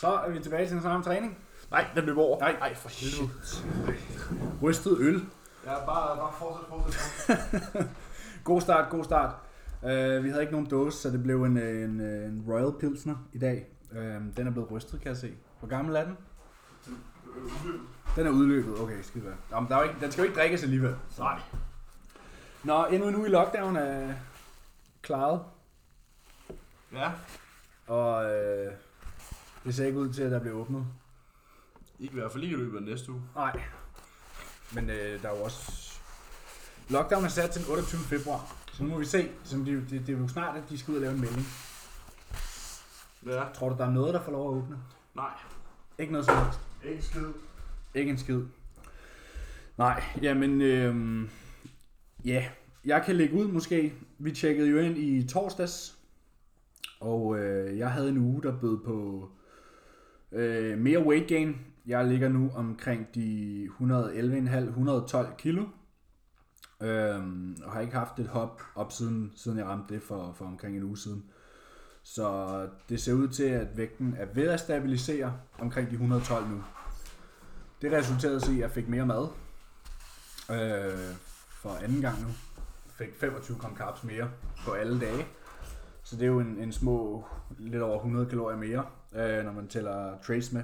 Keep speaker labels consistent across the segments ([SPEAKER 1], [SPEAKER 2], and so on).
[SPEAKER 1] Så er vi tilbage til den samme træning.
[SPEAKER 2] Nej, den løber over.
[SPEAKER 1] Nej.
[SPEAKER 2] Ej, for helvede.
[SPEAKER 1] Rystet øl.
[SPEAKER 3] Ja, bare, bare fortsæt, fortsæt.
[SPEAKER 1] God start, god start. Uh, vi havde ikke nogen dåse, så det blev en, øh, en, øh, en Royal Pilsner i dag. Uh, den er blevet rystet, kan jeg se. Hvor gammel er den? Den er udløbet. Okay, skide være. Nå, men der er jo ikke, den skal jo ikke drikkes alligevel. Så.
[SPEAKER 2] Nej.
[SPEAKER 1] Nå, endnu en uge i lockdown er klaret.
[SPEAKER 3] Ja,
[SPEAKER 1] Og øh, det ser ikke ud til, at der bliver åbnet.
[SPEAKER 3] ikke i hvert fald ikke i løbet af næste uge.
[SPEAKER 1] Nej. Men øh, der er jo også... Lockdown er sat til den 28. februar. Så nu må vi se. Så de, det, det er jo snart, at de skal ud og lave en melding.
[SPEAKER 3] Ja.
[SPEAKER 1] Tror du, der er noget, der får lov at åbne?
[SPEAKER 3] Nej,
[SPEAKER 1] Ikke noget som helst.
[SPEAKER 3] ikke skid.
[SPEAKER 1] Ikke en skid. Nej, jamen... Øh, ja, jeg kan lægge ud måske. Vi tjekkede jo ind i torsdags. Og øh, jeg havde en uge, der bød på øh, mere weight gain. Jeg ligger nu omkring de 111,5-112 kilo. Øhm, og har ikke haft et hop op siden, siden jeg ramte det for, for omkring en uge siden. Så det ser ud til, at vægten er ved at stabilisere omkring de 112 nu. Det resulterede i, at jeg fik mere mad øh, for anden gang nu. Fik 25 gram carbs mere på alle dage. Så det er jo en, en små, lidt over 100 kalorier mere, øh, når man tæller trace med.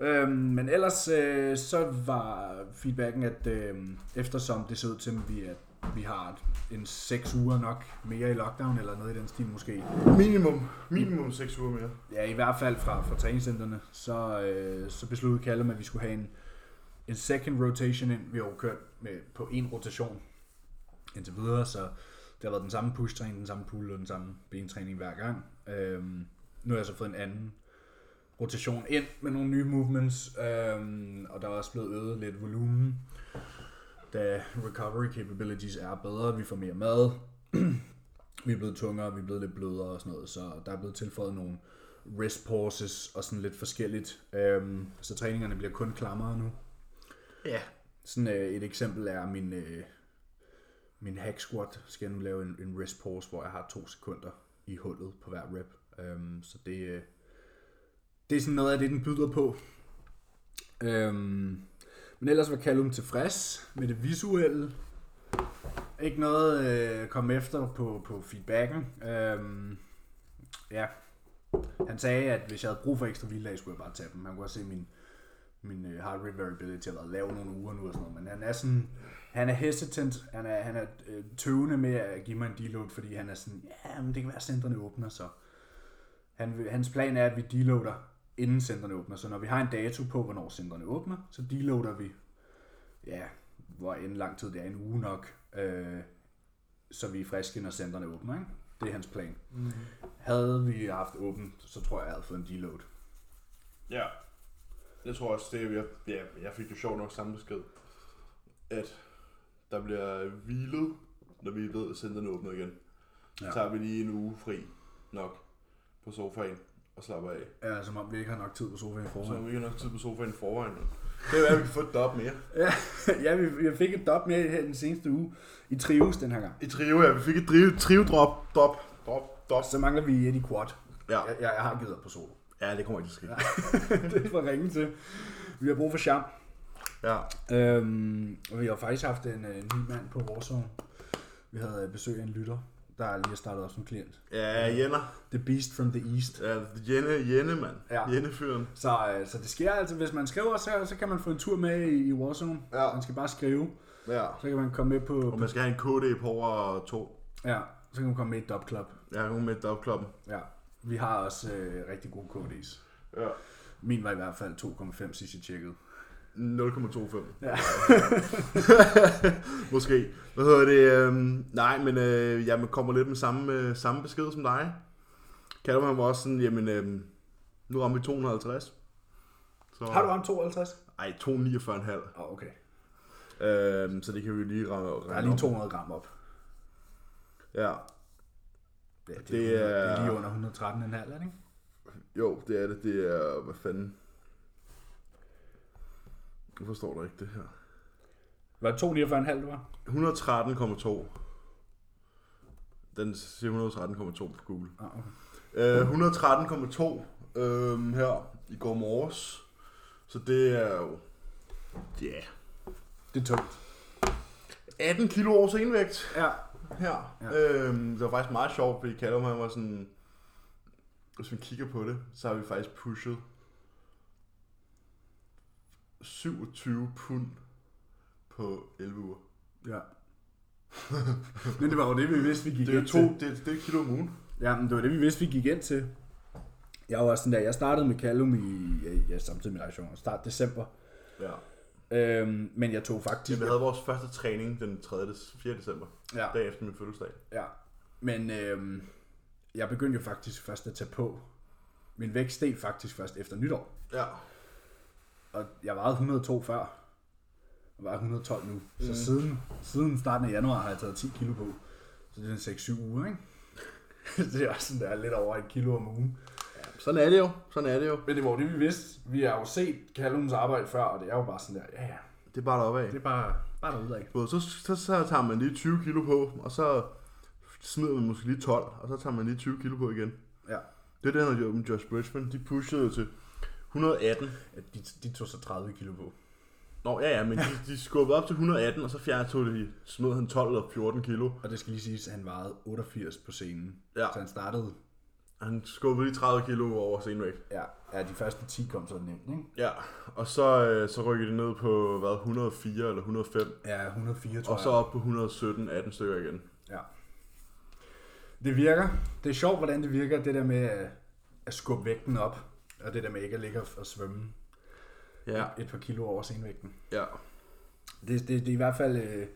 [SPEAKER 1] Øhm, men ellers øh, så var feedbacken, at øh, eftersom det ser ud til, at vi, at vi har en 6 uger nok mere i lockdown, eller noget i den stil måske,
[SPEAKER 3] Minimum. Minimum 6 uger mere.
[SPEAKER 1] Ja, i hvert fald fra, fra træningscenterne, så, øh, så besluttede Callum, at vi skulle have en, en second rotation ind. Vi har jo kørt med, på en rotation indtil videre, så det har været den samme push-træning, den samme pull og den samme bentræning hver gang. Øhm, nu har jeg så fået en anden rotation ind med nogle nye movements, øhm, og der er også blevet øget lidt volumen, da recovery capabilities er bedre, vi får mere mad, vi er blevet tungere, vi er blevet lidt blødere og sådan noget, så der er blevet tilføjet nogle rest pauses og sådan lidt forskelligt. Øhm, så træningerne bliver kun klammere nu.
[SPEAKER 2] Ja.
[SPEAKER 1] Sådan øh, et eksempel er min, øh, min hack squat, skal jeg nu lave en, en rest pause, hvor jeg har to sekunder i hullet på hver rep. Øhm, så det, øh, det er sådan noget af det, den byder på. Øhm, men ellers var Callum tilfreds med det visuelle. Ikke noget øh, kom efter på, på feedbacken. Øhm, ja, han sagde, at hvis jeg havde brug for ekstra hviledag, skulle jeg bare tage dem. Man kunne også se min, min øh, heart rate variability har været lav nogle uger nu og sådan noget. Men han er sådan, han er hesitant, han er, han er øh, tøvende med at give mig en deload, fordi han er sådan, ja, men det kan være, at centrene åbner, så han, vil- hans plan er, at vi deloader, inden centrene åbner. Så når vi har en dato på, hvornår centrene åbner, så deloader vi, ja, hvor end lang tid det er, en uge nok, øh, så vi er friske, når centrene åbner, ikke? Det er hans plan. Havde vi haft åbent, så tror jeg, jeg havde fået en deload.
[SPEAKER 3] Ja. Jeg tror også, det er, jeg, ja, jeg fik jo sjovt nok samme besked, at der bliver hvilet, når vi ved, at centerne åbner igen. Så
[SPEAKER 1] Ja.
[SPEAKER 3] tager vi lige en uge fri nok på sofaen og slapper af.
[SPEAKER 1] Ja, som om vi ikke har nok tid på sofaen i
[SPEAKER 3] Så har
[SPEAKER 1] forvejen.
[SPEAKER 3] vi ikke nok tid på sofaen i forvejen. mand. Det er, at vi kan få et dop mere.
[SPEAKER 1] Ja, ja vi, jeg fik et dop med her den seneste uge i trios den her gang.
[SPEAKER 3] I trio, ja. Vi fik et drive, trio drop, dop, drop, dop.
[SPEAKER 1] Så mangler vi et i quad.
[SPEAKER 3] Ja.
[SPEAKER 1] Jeg, jeg, jeg har givet op på solo.
[SPEAKER 3] ja, det kommer ikke til at ske.
[SPEAKER 1] det er for ringe til. Vi har brug for charm.
[SPEAKER 3] Ja.
[SPEAKER 1] Øhm, og vi har faktisk haft en øh, ny mand på Warzone. Vi havde øh, besøg af en lytter, der lige har startet op som klient.
[SPEAKER 3] Ja, Jenner.
[SPEAKER 1] The Beast from the East.
[SPEAKER 3] Ja, Jenne, Jenne, mand.
[SPEAKER 1] Ja.
[SPEAKER 3] Jenne-fyren.
[SPEAKER 1] Så, øh, så det sker altså, hvis man skriver, så, så kan man få en tur med i, i Warzone.
[SPEAKER 3] Ja.
[SPEAKER 1] Man skal bare skrive,
[SPEAKER 3] Ja.
[SPEAKER 1] så kan man komme med på,
[SPEAKER 3] Og man skal have en KD på over to.
[SPEAKER 1] ja, så kan man komme med i Dub Club.
[SPEAKER 3] Jeg har nogen med dopkloppen.
[SPEAKER 1] Ja, vi har også øh, rigtig gode KD's.
[SPEAKER 3] Ja.
[SPEAKER 1] Min var i hvert fald 2,5 sidst jeg tjekkede.
[SPEAKER 3] 0,25.
[SPEAKER 1] Ja.
[SPEAKER 3] Måske. Hvad hedder det? Øhm, nej, men øh, jeg kommer lidt med samme, øh, samme besked som dig. Callum han var også sådan, jamen, øhm, nu rammer vi 250. Så,
[SPEAKER 1] Har du ramt 52?
[SPEAKER 3] Ej, 249,5.
[SPEAKER 1] Åh, oh, okay.
[SPEAKER 3] Øhm, så det kan vi lige ramme, ramme
[SPEAKER 1] Der er lige
[SPEAKER 3] op.
[SPEAKER 1] 200 gram op.
[SPEAKER 3] Ja,
[SPEAKER 1] Ja, det,
[SPEAKER 3] Det
[SPEAKER 1] er,
[SPEAKER 3] er-
[SPEAKER 1] det er lige under 113,5, er det ikke?
[SPEAKER 3] jo, det er det. Det er, hvad fanden? Nu forstår du ikke det her.
[SPEAKER 1] Var det 249,5, du var?
[SPEAKER 3] 113,2. Den siger 113,2 på Google.
[SPEAKER 1] Ah, okay.
[SPEAKER 3] Øh, 113,2 øhm, her i går morges. Så det er jo... Ja... Yeah.
[SPEAKER 1] Det er tungt.
[SPEAKER 3] 18 kilo over senvægt.
[SPEAKER 1] Ja.
[SPEAKER 3] her.
[SPEAKER 1] Ja.
[SPEAKER 3] Ja. Øhm, det var faktisk meget sjovt, fordi Callum han var sådan... Hvis man kigger på det, så har vi faktisk pushet 27 pund på 11 uger.
[SPEAKER 1] ja. men det var jo det, vi vidste, vi gik
[SPEAKER 3] Det er
[SPEAKER 1] ind
[SPEAKER 3] jo to,
[SPEAKER 1] til.
[SPEAKER 3] det, er- det er et kilo om ugen.
[SPEAKER 1] Ja, men det var det, vi vidste, vi gik ind til. Jeg var sådan der, jeg startede med Callum i, ja, ja samtidig med relation, start december.
[SPEAKER 3] Ja.
[SPEAKER 1] Øhm, men jeg tog faktisk...
[SPEAKER 3] Vi havde vores første træning den 3. des- 4. december,
[SPEAKER 1] ja,
[SPEAKER 3] dagen efter min fødselsdag.
[SPEAKER 1] ja. Men øhm, jeg begyndte jo faktisk først at tage på. Min vægt steg faktisk først efter nytår.
[SPEAKER 3] Ja.
[SPEAKER 1] Og jeg vejede 102 før. Jeg vejer 112 nu. Så mm. siden, siden starten af januar har jeg taget 10 kilo på. Så det er sådan 6-7 uger, ikke? det er også sådan, der er lidt over et kilo om ugen.
[SPEAKER 3] Sådan er det jo. Sådan er det jo.
[SPEAKER 1] Men det var jo det, vi vidste. Vi har jo set Callums arbejde før, og det er jo bare sådan der, ja ja,
[SPEAKER 3] Det er bare deroppe af.
[SPEAKER 1] det er bare, bare derudad.
[SPEAKER 3] Du ved, Så, så, så tager man lige 20 kilo på, og så smider man måske lige 12, og så tager man lige 20 kilo på igen.
[SPEAKER 1] Ja.
[SPEAKER 3] Det er det, han har gjort med Josh Bridgman. De pushede jo til 118.
[SPEAKER 1] ja de, de tog så 30 kilo på.
[SPEAKER 3] Nå, ja, ja, men de, de skubbede op til 118, og så fjernede tog de, smed han 12 eller 14 kilo.
[SPEAKER 1] Og det skal lige siges, at han vejede 88 på scenen.
[SPEAKER 3] Ja.
[SPEAKER 1] Så han startede,
[SPEAKER 3] Han skubbede lige 30 kilo over senvægt.
[SPEAKER 1] ja, ja de første 10 kom så nemt, ikke?
[SPEAKER 3] Ja, og så, øh, så rykkede de ned på, hvad, 104 eller 105,
[SPEAKER 1] Ja, 104 tror
[SPEAKER 3] og så op på 117, 18 stykker igen.
[SPEAKER 1] jeg. Ja. Det virker. Det er sjovt, hvordan det virker, det der med at, at skubbe vægten op. Og det der med ikke at ligge og, og svømme
[SPEAKER 3] Ja,
[SPEAKER 1] et par kilo over scenevægten.
[SPEAKER 3] ja.
[SPEAKER 1] Det, det, det er i hvert fald, øh,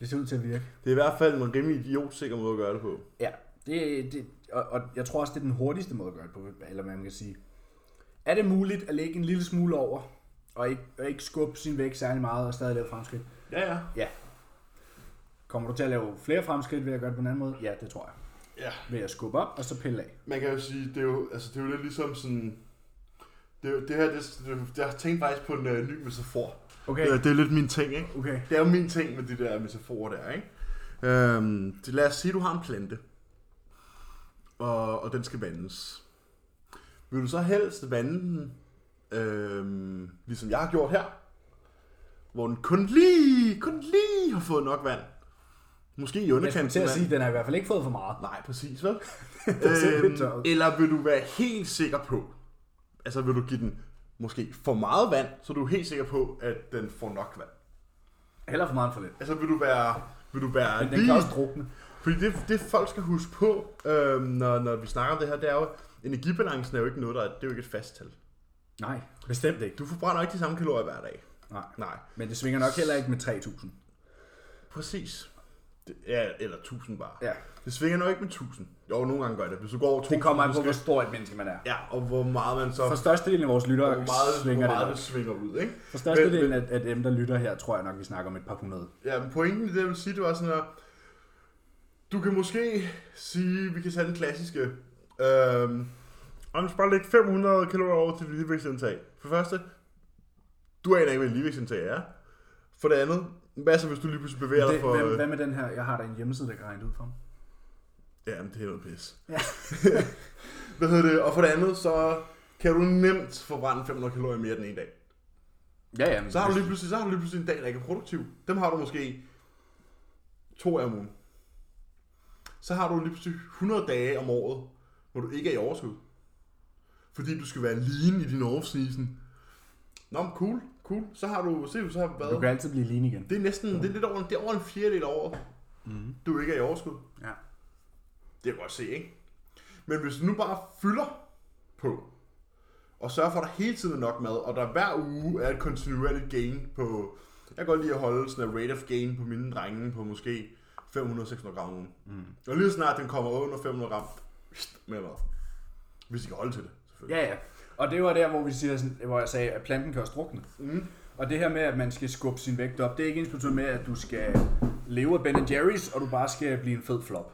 [SPEAKER 1] det ser ud til at virke.
[SPEAKER 3] Det er i hvert fald en rimelig idiotsikker måde at gøre det på.
[SPEAKER 1] Ja, det, det, og, og jeg tror også, det er den hurtigste måde at gøre det på, eller hvad man kan sige. Er det muligt at lægge en lille smule over, og ikke, og ikke skubbe sin vægt særlig meget og stadig lave fremskridt?
[SPEAKER 3] Ja, ja.
[SPEAKER 1] Ja. Kommer du til at lave flere fremskridt ved at gøre det på en anden måde? Ja, det tror jeg.
[SPEAKER 3] Ja,
[SPEAKER 1] Ved at skubbe op og så pille af.
[SPEAKER 3] man kan jo sige, det er jo, altså, det er jo lidt ligesom sådan... Det, er jo- det her, det, det, jeg har tænkt faktisk på en øh, ny metafor.
[SPEAKER 1] Okay,
[SPEAKER 3] Det, er- det er lidt min ting, ikke?
[SPEAKER 1] okay.
[SPEAKER 3] Øh, Det er jo min ting med de der metaforer der, ikke? Øhm, det, lad os sige, du har en plante, og, og den skal vandes. Vil du så helst vande den, øhm, ligesom jeg har gjort her, hvor den kun lige, kun lige har fået nok vand? Måske i
[SPEAKER 1] Jeg skulle
[SPEAKER 3] underkanten
[SPEAKER 1] til at
[SPEAKER 3] af-
[SPEAKER 1] sige, at den har i hvert fald ikke fået for meget.
[SPEAKER 3] Nej, præcis, vel?
[SPEAKER 1] ser lidt
[SPEAKER 3] øhm,
[SPEAKER 1] tør ud.
[SPEAKER 3] eller vil du være helt sikker på, altså vil du give den måske for meget vand, så du er helt sikker på, at den får nok vand?
[SPEAKER 1] Heller for meget end for lidt.
[SPEAKER 3] Altså vil du være, vil du være
[SPEAKER 1] Men den kan også drukne.
[SPEAKER 3] Fordi det, det folk skal huske på, øhm, når, når vi snakker om det her, det er jo, energibalancen er jo ikke noget, der er, det er jo ikke et fast tal.
[SPEAKER 1] Nej, bestemt ikke.
[SPEAKER 3] Du forbrænder ikke de samme kalorier hver dag.
[SPEAKER 1] Nej.
[SPEAKER 3] Nej,
[SPEAKER 1] Men det svinger nok heller ikke med 3.000.
[SPEAKER 3] præcis. Det, ja, eller 1000 bare.
[SPEAKER 1] Ja.
[SPEAKER 3] Det svinger nok ikke med 1000. Jo, nogle gange gør det. Hvis du går over 1000,
[SPEAKER 1] Det kommer an
[SPEAKER 3] så
[SPEAKER 1] på, hvor
[SPEAKER 3] skal-
[SPEAKER 1] stor et menneske man er.
[SPEAKER 3] Ja, og hvor meget man så...
[SPEAKER 1] For størstedelen af vores lyttere
[SPEAKER 3] hvor meget,
[SPEAKER 1] svinger
[SPEAKER 3] hvor meget
[SPEAKER 1] det.
[SPEAKER 3] det,
[SPEAKER 1] nok.
[SPEAKER 3] svinger ud, ikke?
[SPEAKER 1] For størstedelen af, af dem, der lytter her, tror jeg nok, vi snakker om et par hundrede.
[SPEAKER 3] Ja, men pointen i det, jeg vil sige, det var sådan her... Du kan måske sige, vi kan tage den klassiske... Øhm, om du bare lægge 500 kalorier over til dit ligevægtsindtag. For det første, du aner ikke, hvad et ligevægtsindtag er. For det andet, hvad så, hvis du lige pludselig bevæger dig
[SPEAKER 1] Det,
[SPEAKER 3] for...
[SPEAKER 1] hvad,
[SPEAKER 3] øh,
[SPEAKER 1] hvad med den her? Jeg har da en hjemmeside, der kan regne det ud for mig.
[SPEAKER 3] Ja, men det er noget pis.
[SPEAKER 1] Ja.
[SPEAKER 3] Hvad hedder det? Og for det andet, så kan du nemt forbrænde 500 kalorier mere den ene dag.
[SPEAKER 1] Ja, ja. Men
[SPEAKER 3] Så har du lige pludselig, så har du lige pludselig en dag, der ikke er produktiv. Dem har du måske to af om ugen. Så har du lige pludselig 100 dage om året, hvor du ikke er i overskud. Fordi du skal være lean i din off-season. Nå, men cool, cool. Så har du, se, så har du
[SPEAKER 1] Du kan
[SPEAKER 3] været.
[SPEAKER 1] altid blive lean igen.
[SPEAKER 3] Det er næsten, det er lidt over, en- det er over en fjerdedel af året,
[SPEAKER 1] Mhm.
[SPEAKER 3] du ikke er i overskud.
[SPEAKER 1] Ja.
[SPEAKER 3] Det kan jeg godt se, ikke? Men hvis du nu bare fylder på, og sørger for, at der hele tiden er nok mad, og der hver uge er et kontinuerligt gain på... Jeg kan godt lide at holde sådan en rate of gain på mine drenge på måske 500-600 gram om ugen. Mm. Og lige så snart den kommer under 500 gram, pst, mere mad. Hvis de kan holde til det, selvfølgelig.
[SPEAKER 1] Ja, ja. Og det var der, hvor, vi siger sådan, hvor jeg sagde, at planten kan også drukne.
[SPEAKER 3] Mm.
[SPEAKER 1] Og det her med, at man skal skubbe sin vægt op, det er ikke ens betydende med, at du skal leve af Ben Jerry's, og du bare skal blive en fed flop.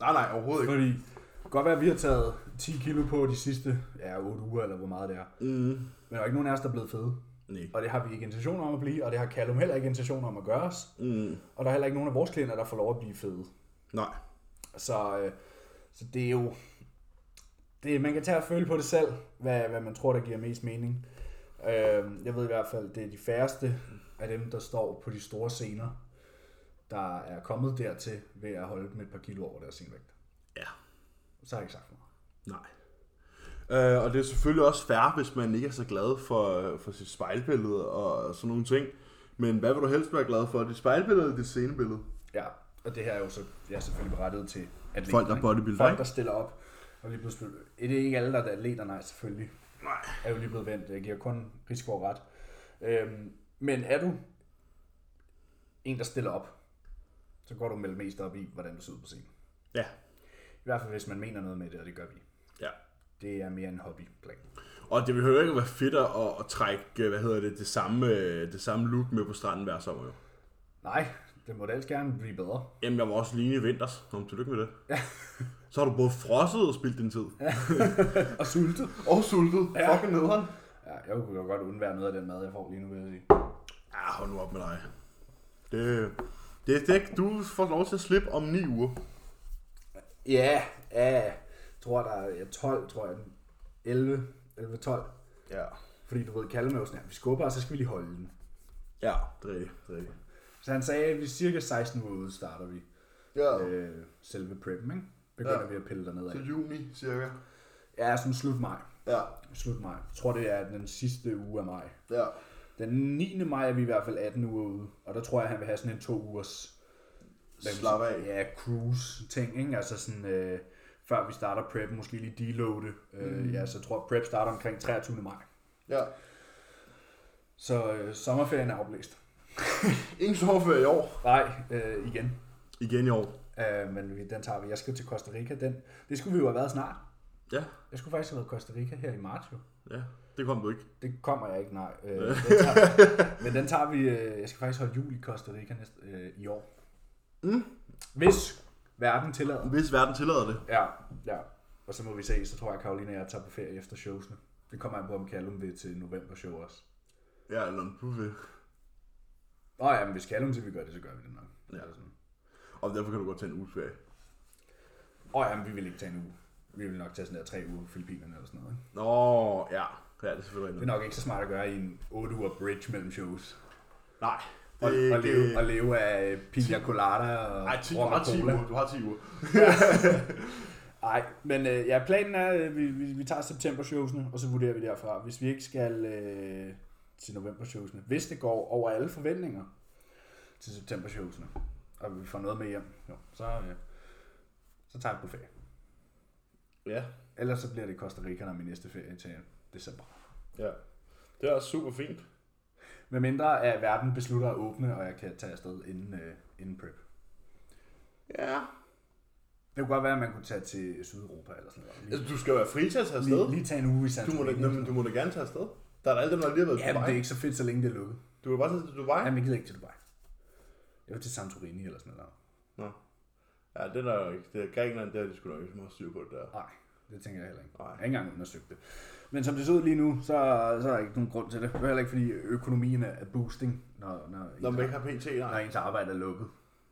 [SPEAKER 3] Nej, nej, overhovedet ikke.
[SPEAKER 1] Fordi det kan godt være, at vi har taget 10 kilo på de sidste ja, 8 uger, eller hvor meget det er.
[SPEAKER 3] Mm.
[SPEAKER 1] Men der er ikke nogen af os, der er blevet fede.
[SPEAKER 3] Nej.
[SPEAKER 1] Og det har vi ikke intention om at blive, og det har Callum heller ikke intention om at gøre os.
[SPEAKER 3] Mm.
[SPEAKER 1] Og der er heller ikke nogen af vores klienter, der får lov at blive fede.
[SPEAKER 3] Nej.
[SPEAKER 1] Så, øh, så det er jo... det, man kan tage og føle på det selv, hvad, hvad man tror, der giver mest mening. Øh, jeg ved i hvert fald, det er de færreste af dem, der står på de store scener, der er kommet dertil ved at holde dem et par kilo over deres scenevægt.
[SPEAKER 3] Ja.
[SPEAKER 1] Så har jeg ikke sagt for meget.
[SPEAKER 3] Nej. Øh, og det er selvfølgelig også fair, hvis man ikke er så glad for, øh, for sit spejlbillede og sådan nogle ting. Men hvad vil du helst være glad for? Dit spejlbillede eller dit scenebillede?
[SPEAKER 1] Ja, og det her er jo så, jeg er selvfølgelig berettiget til atleter,
[SPEAKER 3] Folk, der
[SPEAKER 1] ikke?
[SPEAKER 3] bodybuilder,
[SPEAKER 1] Folk,
[SPEAKER 3] ikke?
[SPEAKER 1] der stiller op. Og lige pludselig, er det ikke alle, der er atleter? Nej, selvfølgelig.
[SPEAKER 3] Nej.
[SPEAKER 1] Er jo lige blevet vendt. Jeg giver kun risiko og ret. Øhm, men er du en, der stiller op, så går du melde mest op i, hvordan du ser ud på scenen.
[SPEAKER 3] Ja.
[SPEAKER 1] I hvert fald, hvis man mener noget med det, og det gør vi.
[SPEAKER 3] ja.
[SPEAKER 1] Det er mere en hobbyplan.
[SPEAKER 3] Og det behøver ikke at være fedt at, at trække, øh, hvad hedder det, det samme, øh, det samme look med på stranden hver sommer jo.
[SPEAKER 1] Nej, det må da ellers gerne blive bedre.
[SPEAKER 3] Jamen, jeg var også lige i vinters. Nå, men tillykke med det. Ja. Så har du både frosset og spildt din tid. Ja.
[SPEAKER 1] Og sultet.
[SPEAKER 3] Og sultet. Ja. Fucking nederen.
[SPEAKER 1] Ja, jeg kunne jo godt undvære noget af den mad, jeg får lige nu, vil jeg sige.
[SPEAKER 3] Ja, hold nu op med dig. Det, det, det, du får lov til at slippe om 9 uger.
[SPEAKER 1] Ja, ja. Jeg tror, der er ja, 12, tror jeg. 11, 11, 12.
[SPEAKER 3] Ja.
[SPEAKER 1] Fordi du ved, Kalme er jo sådan her, vi skubber, og så skal vi lige holde den.
[SPEAKER 3] Ja, det er rigtigt. Det er rigtigt.
[SPEAKER 1] Så han sagde, at vi cirka 16 uger ude starter vi
[SPEAKER 3] Ja,
[SPEAKER 1] øh, selve preppen, ikke? Begynder
[SPEAKER 3] Ja.
[SPEAKER 1] ja. vi at pille dernede af.
[SPEAKER 3] til juni cirka.
[SPEAKER 1] Ja, sådan slut maj.
[SPEAKER 3] Ja,
[SPEAKER 1] Slut maj. Jeg tror, det er den sidste uge af maj.
[SPEAKER 3] ja.
[SPEAKER 1] Den 9. maj er vi i hvert fald 18 uger ude, og der tror jeg, han vil have sådan en to ugers... hvad kan man
[SPEAKER 3] Slap
[SPEAKER 1] sige,
[SPEAKER 3] af.
[SPEAKER 1] Ja, cruise-ting, ikke? Altså sådan, øh, før vi starter prep, måske lige deloade. Øh,
[SPEAKER 3] Mm.
[SPEAKER 1] ja, så jeg tror, prep starter omkring 23. maj.
[SPEAKER 3] Ja.
[SPEAKER 1] Så øh, sommerferien er afblæst.
[SPEAKER 3] Ingen sommerferie i år.
[SPEAKER 1] Nej, øh, igen.
[SPEAKER 3] Igen i år.
[SPEAKER 1] Øh, men vi- den tager vi. Jeg skal til Costa Rica. Den. Det skulle vi jo have været snart.
[SPEAKER 3] Ja,
[SPEAKER 1] Jeg skulle faktisk have været i Costa Rica her i marts jo.
[SPEAKER 3] ja. Det kom du ikke.
[SPEAKER 1] Det kommer jeg ikke, nej. Øh, den tager, men den tager vi... Øh, jeg skal faktisk holde jul i Costa Rica næste, øh, i år. Mm. Hvis verden tillader.
[SPEAKER 3] Hvis verden tillader det.
[SPEAKER 1] Ja, ja. Og så må vi se, så tror jeg, Karoline og jeg tager på ferie efter showsene. Det kommer jeg på, om Callum vil til november show også.
[SPEAKER 3] Ja, eller en buffet.
[SPEAKER 1] Nå ja, men hvis Callum siger, vi gør det, så gør vi det nok.
[SPEAKER 3] Ja.
[SPEAKER 1] Eller sådan.
[SPEAKER 3] Og derfor kan du godt tage en uges ferie.
[SPEAKER 1] Åh ja, men vi vil ikke tage en uge. Vi vil nok tage sådan der tre uger på Filippinerne eller sådan noget. Ikke?
[SPEAKER 3] Nå, ja. Ja, det er selvfølgelig
[SPEAKER 1] Det
[SPEAKER 3] rigtigt.
[SPEAKER 1] er nok ikke så smart at gøre i en 8 uger bridge mellem shows.
[SPEAKER 3] Nej.
[SPEAKER 1] Og,
[SPEAKER 3] det-
[SPEAKER 1] og, leve, og
[SPEAKER 3] det-
[SPEAKER 1] leve af øh, pina colada og
[SPEAKER 3] Ej, ti, du
[SPEAKER 1] rom og
[SPEAKER 3] har 10
[SPEAKER 1] cola.
[SPEAKER 3] uger. Du har 10 uger.
[SPEAKER 1] Nej, men øh, ja, planen er, øh, vi, vi, vi tager september-showsene, og så vurderer vi derfra. Hvis vi ikke skal øh, til november-showsene, hvis det går over alle forventninger til september-showsene, og vi får noget med hjem, jo, så, øh, så tager vi på ferie.
[SPEAKER 3] Ja,
[SPEAKER 1] Ellers så bliver det Costa Rica, når min næste ferie til december.
[SPEAKER 3] ja. Det er også super fint.
[SPEAKER 1] Med mindre at verden beslutter at åbne, og jeg kan tage afsted inden, øh, inden prep.
[SPEAKER 3] Ja.
[SPEAKER 1] Det kunne godt være, at man kunne tage til Sydeuropa eller sådan noget. Lige,
[SPEAKER 3] Altså, du skal være fri til at tage afsted.
[SPEAKER 1] lige, lige tage en uge i
[SPEAKER 3] Du må, da,
[SPEAKER 1] Santorini.
[SPEAKER 3] jamen, du må da gerne tage afsted. Der er da alle dem, der lige har været i
[SPEAKER 1] Jamen, det er
[SPEAKER 3] Dubai.
[SPEAKER 1] ikke så fedt, så længe det er lukket.
[SPEAKER 3] Du kan bare tage til Dubai.
[SPEAKER 1] Jamen, jeg gider ikke til Dubai. Jeg vil til Santorini eller sådan noget.
[SPEAKER 3] Nå. Ja, det er der jo ikke. Det er Grækenland, der er de sgu nok ikke så meget styr på det der.
[SPEAKER 1] Nej, det tænker jeg heller ikke.
[SPEAKER 3] Nej.
[SPEAKER 1] Nej. Jeg har ikke engang undersøgt det. Men som det ser ud lige nu, så, så er der ikke nogen grund til det. Det er heller ikke, fordi økonomien er er boosting, når, når, ens,
[SPEAKER 3] Når man ikke har PT,
[SPEAKER 1] når
[SPEAKER 3] nej.
[SPEAKER 1] ens arbejde er lukket.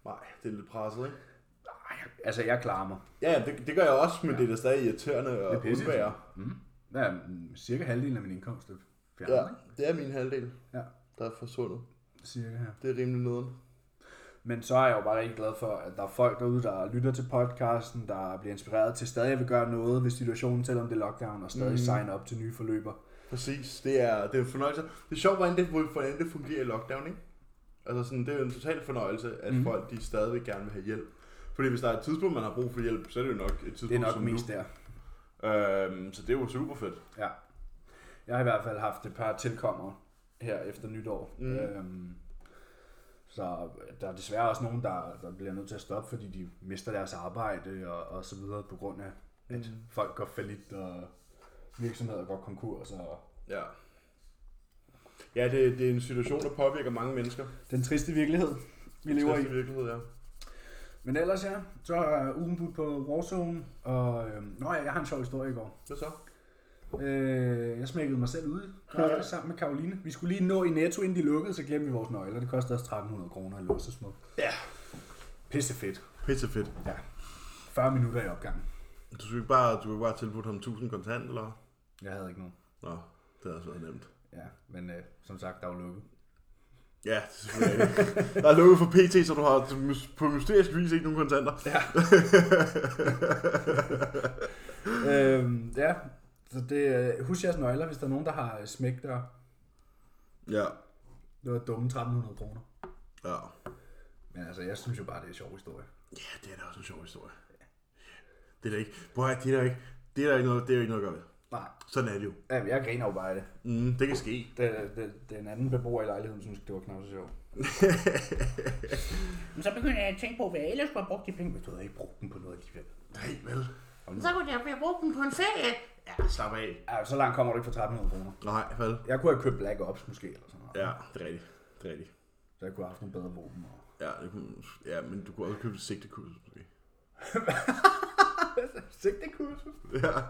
[SPEAKER 3] Nej, det er lidt presset, ikke?
[SPEAKER 1] Nej, altså jeg klarer mig.
[SPEAKER 3] Ja, ja, det, det gør jeg også, men ja. det er da stadig irriterende at
[SPEAKER 1] pisse
[SPEAKER 3] undvære.
[SPEAKER 1] Mm. Ja, mm, cirka halvdelen af min indkomst er fjernet,
[SPEAKER 3] Ja,
[SPEAKER 1] ja.
[SPEAKER 3] det er min halvdel,
[SPEAKER 1] Ja.
[SPEAKER 3] der er forsvundet.
[SPEAKER 1] cirka her.
[SPEAKER 3] Det er rimelig nederen.
[SPEAKER 1] Men så er jeg jo bare rigtig glad for, at der er folk derude, der lytter til podcasten, der bliver inspireret til stadig at vil gøre noget ved situationen, selvom det er lockdown, og stadig mm. signe op til nye forløber.
[SPEAKER 3] Præcis, det er, det er en fornøjelse. Det er sjovt, hvordan det, hvordan det fungerer i lockdown, ikke? Altså sådan, det er jo en total fornøjelse, at mm. folk de stadigvæk gerne vil have hjælp. Fordi hvis der er et tidspunkt, man har brug for hjælp, så er det jo nok et tidspunkt
[SPEAKER 1] Det er nok
[SPEAKER 3] som
[SPEAKER 1] mest
[SPEAKER 3] nu.
[SPEAKER 1] der.
[SPEAKER 3] Øhm, så det er jo super fedt.
[SPEAKER 1] Ja. Jeg har i hvert fald haft et par tilkommere her efter nytår. Mm. Øhm, så der er desværre også nogen, der, der bliver nødt til at stoppe, fordi de mister deres arbejde og, og så videre på grund af, at mm. folk går falit og virksomheder går konkurs. Og
[SPEAKER 3] Ja. Ja, det, det er en situation, der påvirker mange mennesker.
[SPEAKER 1] den triste virkelighed, vi lever i.
[SPEAKER 3] Trist virkelighed, ja.
[SPEAKER 1] Men ellers ja, så er ugen budt på Warzone, og øhm, nå ja, jeg har en sjov historie i går.
[SPEAKER 3] Hvad så?
[SPEAKER 1] Øh, jeg smækkede mig selv ud ja. sammen med Karoline. Vi skulle lige nå i Netto, inden de lukkede, så glemte vi vores nøgler. Det kostede os 1300 kroner at låse små.
[SPEAKER 3] Ja.
[SPEAKER 1] Pisse fedt.
[SPEAKER 3] Pisse fedt.
[SPEAKER 1] Ja. 40 minutter i opgangen.
[SPEAKER 3] Du skulle ikke bare, du skulle ikke bare tilbudt ham 1000 kontant, eller? hvad?
[SPEAKER 1] Jeg havde ikke nogen.
[SPEAKER 3] Nå, det havde også været nemt.
[SPEAKER 1] Ja, men øh, som sagt, der var lukket.
[SPEAKER 3] Ja, det er selvfølgelig rigtigt. Der er lukket for PT, så du har på mysterisk vis ikke nogen kontanter.
[SPEAKER 1] Ja. øhm, ja, så det, øh, husk jeres nøgler, hvis der er nogen, der har øh, smækdør.
[SPEAKER 3] Ja,
[SPEAKER 1] Det var dumme 1300 kroner.
[SPEAKER 3] ja.
[SPEAKER 1] Men altså, jeg synes jo bare, det er en sjov historie.
[SPEAKER 3] Ja, det er da også en sjov historie. Det er da ikke, prøv at høre, det er da ikke, det er da ikke noget, det er der ikke noget at gøre ved.
[SPEAKER 1] Nej,
[SPEAKER 3] Sådan er det jo.
[SPEAKER 1] ja, jeg griner jo bare af det.
[SPEAKER 3] Mm, det kan ske.
[SPEAKER 1] Det, det, den anden beboer i lejligheden synes, det var knap så sjovt. Men så begyndte jeg at tænke på, hvad jeg ellers skulle have brugt de penge. Men du havde ikke brugt dem på noget alligevel.
[SPEAKER 3] Nej, vel?
[SPEAKER 4] Så kunne jeg have brugt den på en ferie.
[SPEAKER 3] Ja, slap af.
[SPEAKER 1] Ja, så langt kommer du ikke for 1300 kroner.
[SPEAKER 3] Nej, vel?
[SPEAKER 1] Jeg kunne have købt Black Ops måske, eller sådan noget.
[SPEAKER 3] Ja, det er rigtigt. Det er rigtigt.
[SPEAKER 1] Så jeg kunne have haft nogle bedre våben. Og...
[SPEAKER 3] Ja, det kunne, ja men du kunne også købe et sigtekurs, måske.
[SPEAKER 1] Sigtekursus?
[SPEAKER 3] Ja.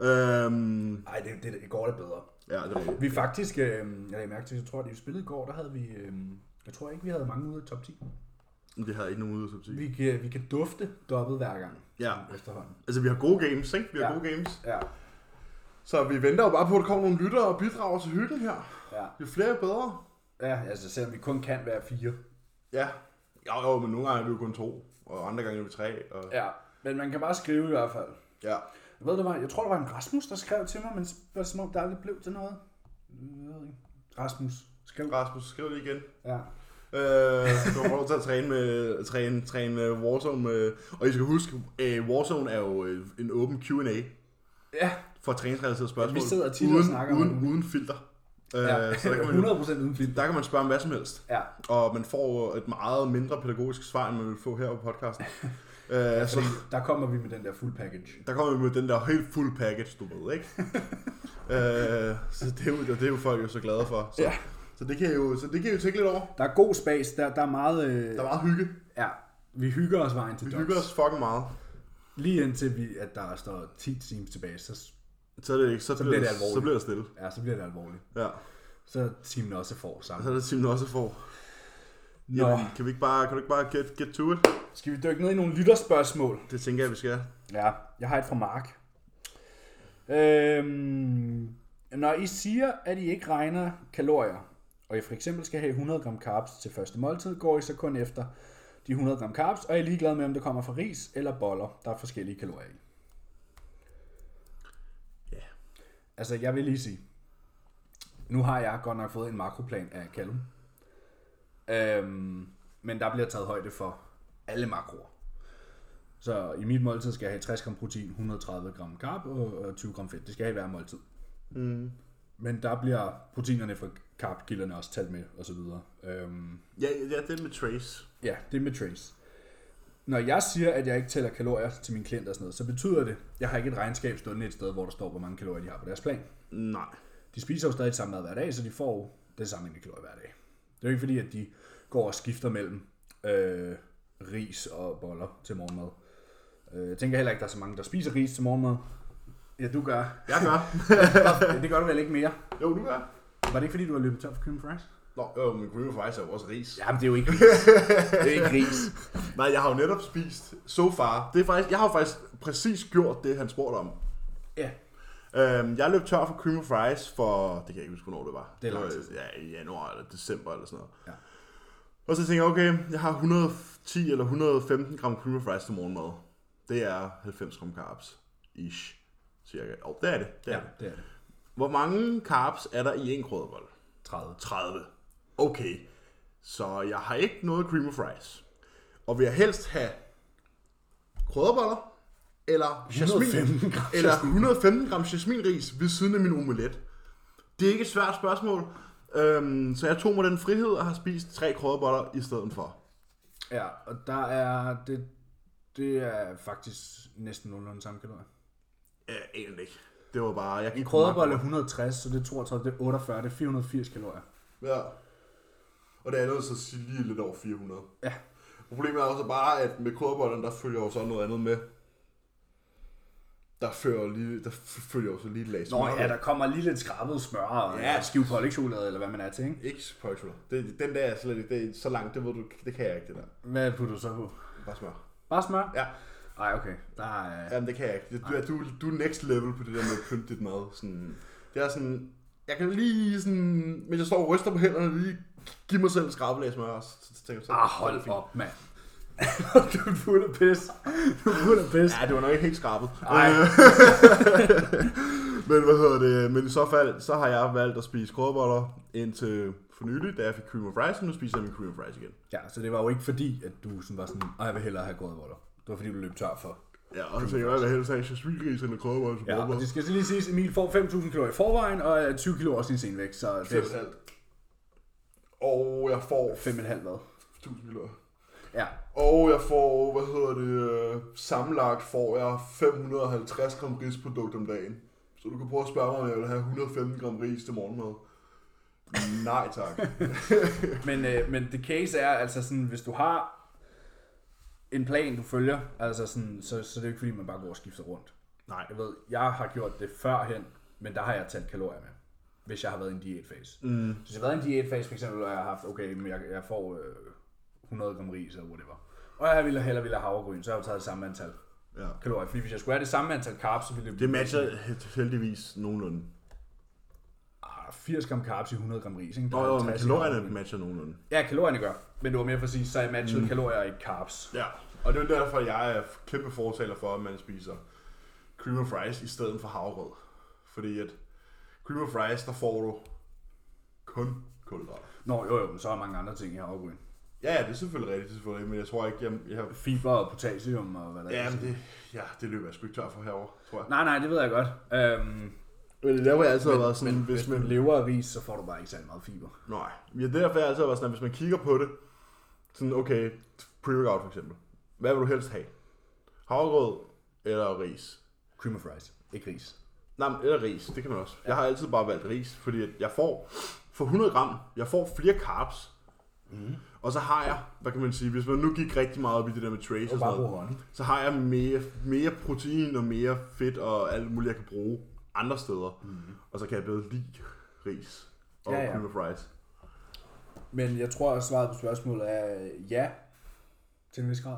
[SPEAKER 3] Øhm,
[SPEAKER 1] Nej, det, det, det, går det bedre.
[SPEAKER 3] ja, det er rigtigt.
[SPEAKER 1] Vi faktisk, øh, jeg lagde mærke til, jeg tror, at i spillet i går, der havde vi, øh, jeg tror ikke, vi havde mange ude i top 10.
[SPEAKER 3] Men Det havde ikke nogen ude, som sige.
[SPEAKER 1] Vi kan, vi kan dufte dobbelt hver gang
[SPEAKER 3] Ja,
[SPEAKER 1] efterhånden.
[SPEAKER 3] altså vi har gode games, ikke? Vi har
[SPEAKER 1] Ja.
[SPEAKER 3] ja. gode games.
[SPEAKER 1] Ja,
[SPEAKER 3] Så vi venter jo bare på, at der kommer nogle lyttere og bidrager til hyggen her.
[SPEAKER 1] ja.
[SPEAKER 3] Jo flere, jo bedre.
[SPEAKER 1] Ja, altså selvom vi kun kan være fire.
[SPEAKER 3] Ja. Jo, jo, men nogle gange er vi jo kun to, og andre gange er vi tre. Og...
[SPEAKER 1] Ja, men man kan bare skrive i hvert fald.
[SPEAKER 3] ja.
[SPEAKER 1] Jeg, ved, det var, jeg tror, det var en Rasmus, der skrev til mig, men så var det som om, der aldrig blev til noget. Jeg ved ikke. Rasmus, skriv.
[SPEAKER 3] Rasmus, skriv lige igen.
[SPEAKER 1] Ja.
[SPEAKER 3] Øh, du får lov til at træne, med, træne, træne med Warzone. Med, og I skal huske, øh, Warzone er jo øh, en åben Q&A
[SPEAKER 1] Ja,
[SPEAKER 3] for træningsrelaterede spørgsmål.
[SPEAKER 1] Ja, vi sidder tit og
[SPEAKER 3] uden,
[SPEAKER 1] snakker om
[SPEAKER 3] uden,
[SPEAKER 1] det.
[SPEAKER 3] uden filter. Øh,
[SPEAKER 1] ja.
[SPEAKER 3] så der kan, man,
[SPEAKER 1] 100% uden film.
[SPEAKER 3] der kan man spørge om hvad som helst.
[SPEAKER 1] Ja,
[SPEAKER 3] Og man får et meget mindre pædagogisk svar, end man vil få her på podcasten. øh, så,
[SPEAKER 1] fordi der kommer vi med den der full package.
[SPEAKER 3] Der kommer vi med den der helt fuld package, du ved, ikke? øh, så det er, jo, det er jo folk jo så glade for. Så,
[SPEAKER 1] Ja.
[SPEAKER 3] så, det, kan I jo, så det kan I jo tænke lidt over.
[SPEAKER 1] Der er god space, der, der er meget... Øh,
[SPEAKER 3] Der er meget hygge.
[SPEAKER 1] Ja, vi hygger os vejen til
[SPEAKER 3] Vi
[SPEAKER 1] Dogs.
[SPEAKER 3] hygger os fucking meget.
[SPEAKER 1] Lige indtil vi, at der står 10 timer tilbage, så,
[SPEAKER 3] Så, er det, ikke- så, så, bliver,
[SPEAKER 1] bliver det
[SPEAKER 3] det
[SPEAKER 1] alvorligt.
[SPEAKER 3] så bliver det stille.
[SPEAKER 1] ja, så bliver det alvorligt.
[SPEAKER 3] Ja.
[SPEAKER 1] Så er timen også for
[SPEAKER 3] Så
[SPEAKER 1] sammen.
[SPEAKER 3] er det simpelthen også for.
[SPEAKER 1] Nå,
[SPEAKER 3] Jamen, kan, vi ikke bare, kan du ikke bare get, get to it?
[SPEAKER 1] skal vi dykke ned i nogle lytterspørgsmål?
[SPEAKER 3] Det tænker jeg, vi skal.
[SPEAKER 1] Ja, jeg har et fra Mark. Øhm, når I siger, at I ikke regner kalorier, og I for eksempel skal have 100 gram carbs til første måltid, går I så kun efter de 100 gram carbs, og er I ligeglad med, om det kommer fra ris eller boller. Der er forskellige kalorier i.
[SPEAKER 3] Ja.
[SPEAKER 1] Altså, jeg vil lige sige, nu har jeg godt nok fået en makroplan af Callum. Øhm, men der bliver taget højde for alle makroer. Så i mit måltid skal jeg have 60 gram protein, 130 gram carb og og 20 gram fedt. Det skal jeg have i hver måltid.
[SPEAKER 3] Mm.
[SPEAKER 1] Men der bliver proteinerne fra carbkilderne også talt med osv. Øhm,
[SPEAKER 3] Ja, ja, det er med Trace.
[SPEAKER 1] ja, det er med trace. Når jeg siger, at jeg ikke tæller kalorier til mine klienter og sådan noget, så betyder det, at jeg har ikke et regnskab stående et sted, hvor der står, hvor mange kalorier de har på deres plan.
[SPEAKER 3] Nej.
[SPEAKER 1] De spiser jo stadig samme mad hver dag, så de får jo det samme mængde kalorier hver dag. Det er jo ikke fordi, at de går og skifter mellem øh, ris og boller til morgenmad. Øh, Jeg tænker heller ikke, at der er så mange, der spiser ris til morgenmad. Ja, du gør.
[SPEAKER 3] Jeg gør.
[SPEAKER 1] Ja, det gør du vel ikke mere.
[SPEAKER 3] jo, du gør.
[SPEAKER 1] Var det ikke fordi, du har løbet tør for cream fries?
[SPEAKER 3] Nå, øh, men Green Fries er jo også ris.
[SPEAKER 1] Jamen, det er jo ikke ris. det er ikke ris.
[SPEAKER 3] Nej, jeg har jo netop spist so far. Det er faktisk, jeg har jo faktisk præcis gjort det, han spurgte om.
[SPEAKER 1] Ja.
[SPEAKER 3] Øhm, jeg løb tør for cream of fries for, det kan jeg ikke huske, hvornår det var.
[SPEAKER 1] Det er lang
[SPEAKER 3] var,
[SPEAKER 1] tid siden.
[SPEAKER 3] Ja, i januar eller december eller sådan noget.
[SPEAKER 1] Ja.
[SPEAKER 3] Og så tænkte jeg, okay, jeg har 110 eller 115 gram cream of fries til morgenmad. Det er 90 gram carbs, ish, cirka. Og det er det, det er
[SPEAKER 1] ja,
[SPEAKER 3] det.
[SPEAKER 1] det er det.
[SPEAKER 3] Hvor mange carbs er der i en krødebolle?
[SPEAKER 1] 30.
[SPEAKER 3] 30. Okay, så jeg har ikke noget cream of fries. Og vil jeg helst have krødderboller, eller, jasmin,
[SPEAKER 1] 115 gram
[SPEAKER 3] eller 115 gram jasminris ved siden af min omelet? Det er ikke et svært spørgsmål, øhm, så jeg tog mig den frihed og har spist tre krødderboller i stedet for.
[SPEAKER 1] Ja, og der er... Det, det er faktisk næsten nogenlunde samme kalorier.
[SPEAKER 3] Øh, egentlig ikke. Det var bare... Jeg
[SPEAKER 1] En
[SPEAKER 3] gik på
[SPEAKER 1] krødderbolle er
[SPEAKER 3] makro.
[SPEAKER 1] 160, så det er 32, det er 48, det er 480 kalorier.
[SPEAKER 3] Ja. Og det andet er så lige lidt over 400.
[SPEAKER 1] Ja.
[SPEAKER 3] Problemet er også bare, at med kodbolden, der følger jo så noget andet med. Der, fører lige, der f- følger jo så lige et lag
[SPEAKER 1] Nå
[SPEAKER 3] smør
[SPEAKER 1] ja,
[SPEAKER 3] med.
[SPEAKER 1] der kommer lige lidt skrabet smør og ja.
[SPEAKER 3] Ja.
[SPEAKER 1] skive pålægchokolade, eller hvad man er til, ikke?
[SPEAKER 3] Ikke pålægschokolade. Det, den der er slet ikke, det er så langt, det ved du, det kan jeg ikke, det der.
[SPEAKER 1] Hvad putter du så på?
[SPEAKER 3] Bare smør.
[SPEAKER 1] Bare smør?
[SPEAKER 3] Ja.
[SPEAKER 1] Nej, okay. Der er...
[SPEAKER 3] Jamen, det kan jeg ikke. Det- Du, er- du, du er next level på det der med at pynte dit mad. Sådan, det er sådan, jeg kan lige sådan, mens jeg står og ryster på hænderne, lige give mig selv en skrabelag smør, og så, så tænker jeg så.
[SPEAKER 1] Ah, hold op, mand. du er fuld af pis. Du er fuld af pis.
[SPEAKER 3] Ja, det var nok ikke helt skrabet.
[SPEAKER 1] Ej.
[SPEAKER 3] Øh, men hvad hedder det? Men i så fald, så har jeg valgt at spise krødeboller indtil for nylig, da jeg fik cream of rice, og nu spiser jeg min cream of rice igen.
[SPEAKER 1] Ja, så det var jo ikke fordi, at du sådan var sådan, "Ej, jeg vil hellere have grødvoller. Det var fordi, du løb tør for.
[SPEAKER 3] Ja, og så tænker jeg, hvad helst af, jeg svinegris eller krødeboller, så
[SPEAKER 1] Ja, og
[SPEAKER 3] ja,
[SPEAKER 1] det skal så lige siges, at Emil får 5.000 kilo i forvejen, og er 20 kilo også i senvægt, så det er
[SPEAKER 3] Og jeg får
[SPEAKER 1] 5,5 hvad?
[SPEAKER 3] 1000 kilo.
[SPEAKER 1] Ja,
[SPEAKER 3] Og jeg får, hvad hedder det, øh, sammenlagt får jeg 550 gram risprodukt om dagen. Så du kan prøve at spørge mig, om jeg vil have 115 gram ris til morgenmad. Nej tak.
[SPEAKER 1] men, øh, men the case er altså sådan, hvis du har en plan, du følger, altså sådan, så, så det er jo ikke fordi, man bare går og skifter rundt.
[SPEAKER 3] Nej.
[SPEAKER 1] Jeg ved, jeg har gjort det førhen, men der har jeg talt kalorier med, hvis jeg har været i en diætfase. Mm. Hvis jeg har været i en diætfase, for eksempel, og jeg har haft, okay, men jeg, jeg får øh, 100 gram ris eller whatever, og jeg ville hellere ville have havregryn, så har jeg jo taget det samme antal
[SPEAKER 3] Ja.
[SPEAKER 1] kalorier. Fordi hvis jeg skulle have det samme antal carbs, så ville det
[SPEAKER 3] Det matcher heldigvis nogenlunde.
[SPEAKER 1] Ah, 80 gram carbs i 100 gram ris, ikke?
[SPEAKER 3] Nå jo, men
[SPEAKER 1] 50 i
[SPEAKER 3] kalorierne
[SPEAKER 1] havregryn.
[SPEAKER 3] matcher nogenlunde.
[SPEAKER 1] Ja, kalorierne gør. Men det var mere for at sige, så jeg matchede mm. kalorier og ikke carbs.
[SPEAKER 3] Ja, og det er derfor, jeg er kæmpe fortaler for, at man spiser cream of rice i stedet for havregrød. Fordi at cream of rice, der får du kun kulhydrater.
[SPEAKER 1] Nå, jo, jo, men så er der mange andre ting i havregryn.
[SPEAKER 3] Ja, ja, det er selvfølgelig rigtigt, det er selvfølgelig, men jeg tror ikke, jeg, jeg
[SPEAKER 1] Fiber og potassium og hvad der
[SPEAKER 3] Ja,
[SPEAKER 1] er.
[SPEAKER 3] men det, ja, det løber jeg sgu ikke tør for herovre, tror jeg.
[SPEAKER 1] Nej, nej, det ved jeg godt. Øhm,
[SPEAKER 3] Men det er derfor, jeg altid har været
[SPEAKER 1] men,
[SPEAKER 3] sådan,
[SPEAKER 1] men
[SPEAKER 3] hvis man...
[SPEAKER 1] du lever af ris, så får du bare ikke særlig meget fiber.
[SPEAKER 3] Nej, ja, det er derfor, jeg altid har været sådan, at hvis man kigger på det, sådan, okay, pre-workout for eksempel. Hvad vil du helst have? Havregrød eller ris?
[SPEAKER 1] Cream of rice, ikke ris.
[SPEAKER 3] Nej, men eller ris, det kan man også. Jeg har altid bare valgt ris, fordi at jeg får for 100 gram, jeg får flere carbs. Mm. Og så har jeg, hvad kan man sige, hvis man nu gik rigtig meget op i det der med trace og
[SPEAKER 1] bare
[SPEAKER 3] sådan
[SPEAKER 1] bruge
[SPEAKER 3] noget,
[SPEAKER 1] hånden.
[SPEAKER 3] så har jeg mere, mere protein og mere fedt og alt muligt, jeg kan bruge andre steder. Mm. Og så kan jeg bedre lide ris og
[SPEAKER 1] Mhm. Ja,
[SPEAKER 3] ja,
[SPEAKER 1] ja.
[SPEAKER 3] ja. cream of rice.
[SPEAKER 1] Men jeg tror, at svaret på spørgsmålet er øh, ja, til en vis grad.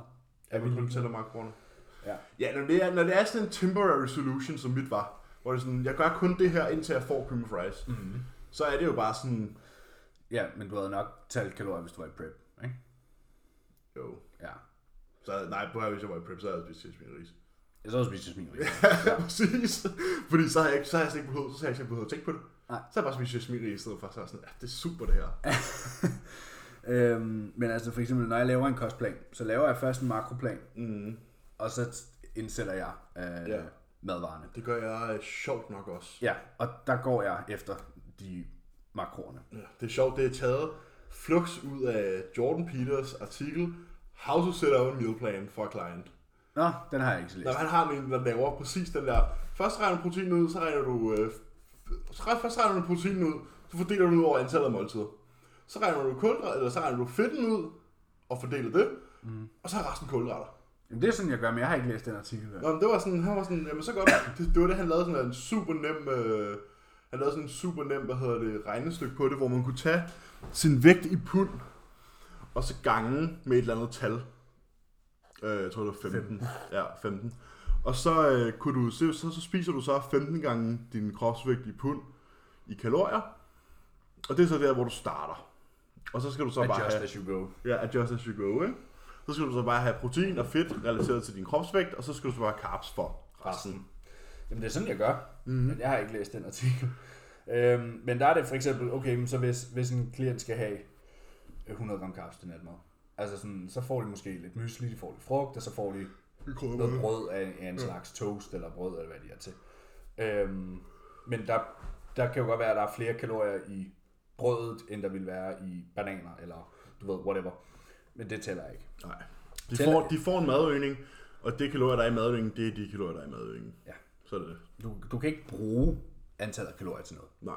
[SPEAKER 3] Ja, vi kun tæller makroerne.
[SPEAKER 1] Ja.
[SPEAKER 3] Ja, når det, er, når det er sådan en temporary solution, som mit var, hvor det er sådan, jeg gør kun det her, indtil jeg får cream of rice, mm.
[SPEAKER 1] Mhm.
[SPEAKER 3] så er det jo bare sådan,
[SPEAKER 1] Ja, men du havde nok talt kalorier, hvis du var i prep, ikke?
[SPEAKER 3] jo,
[SPEAKER 1] Ja.
[SPEAKER 3] Så nej, på her, hvis jeg var i prep, så havde jeg spist tilsvin ris.
[SPEAKER 1] Jeg så også spiste min ris.
[SPEAKER 3] Ja, præcis. Fordi så har jeg, ikke- så har jeg slet ikke behøvet, så har jeg slet ikke behøvet at tænke på det.
[SPEAKER 1] Nej.
[SPEAKER 3] Så har jeg bare spist jasmin ris i stedet for, så er jeg sådan, ja, det er super det her.
[SPEAKER 1] Øhm, men altså for eksempel, når jeg laver en kostplan, så laver jeg først en makroplan,
[SPEAKER 3] Mm.
[SPEAKER 1] og så t- indsætter jeg øh, Mhm. ja.
[SPEAKER 3] Ja.
[SPEAKER 1] madvarerne.
[SPEAKER 3] Det gør jeg øh, sjovt nok også.
[SPEAKER 1] Ja, og der går jeg efter de makroerne.
[SPEAKER 3] Ja. Det er sjovt, det er taget flux ud af Jordan Peters artikel, How to set up a meal plan for a client.
[SPEAKER 1] Nå, den har jeg ikke så
[SPEAKER 3] Når
[SPEAKER 1] læst.
[SPEAKER 3] han har en, der laver præcis den der, først regner du protein ud, så regner du, øh, så regner- først regner du protein ud, så fordeler du det ud over antallet af måltider. Så regner du kulhydrater, eller så regner du fedten ud, og fordeler det, mm. og så er resten kulhydrater.
[SPEAKER 1] Jamen, det er sådan, jeg gør, men jeg har ikke læst den artikel. Der.
[SPEAKER 3] Nå, men det var sådan, han var sådan, jamen så godt, det, det var det, han lavede sådan en super nem, øh, han lavede sådan en super nem, hvad hedder det, regnestykke på det, hvor man kunne tage sin vægt i pund, og så gange med et eller andet tal. Øh, jeg tror, det var 15. Ja, 15. Og så, øh, kunne du, se- så, så spiser du så 15 gange din kropsvægt i pund i kalorier, og det er så der, hvor du starter. Og så skal du så bare
[SPEAKER 1] Adjust
[SPEAKER 3] have...
[SPEAKER 1] as you go.
[SPEAKER 3] Ja, adjust as you go, ikke? Så skal du så bare have protein og fedt relateret til din kropsvægt, og så skal du så bare have carbs for resten.
[SPEAKER 1] Jamen, det er sådan, jeg gør, mm-hmm. men jeg har ikke læst den artikel. Øhm, men der er det for eksempel, okay, men så hvis, hvis en klient skal have 100 gram carbs til natmad, altså sådan, så får de måske lidt mysli, de får lidt frugt, og så får de noget brød af, af en slags toast eller brød, eller hvad de er til. Øhm, men der, der kan jo godt være, at der er flere kalorier i brødet, end der vil være i bananer, eller du ved, whatever. Men det tæller ikke.
[SPEAKER 3] Nej. De
[SPEAKER 1] Tæller-
[SPEAKER 3] får, de får en madøgning, og det kalorier, der er i madøgningen, det er de kalorier, der er i madøgningen.
[SPEAKER 1] Ja.
[SPEAKER 3] Så er det det.
[SPEAKER 1] Du, du kan ikke bruge antallet af kalorier til noget.
[SPEAKER 3] Nej.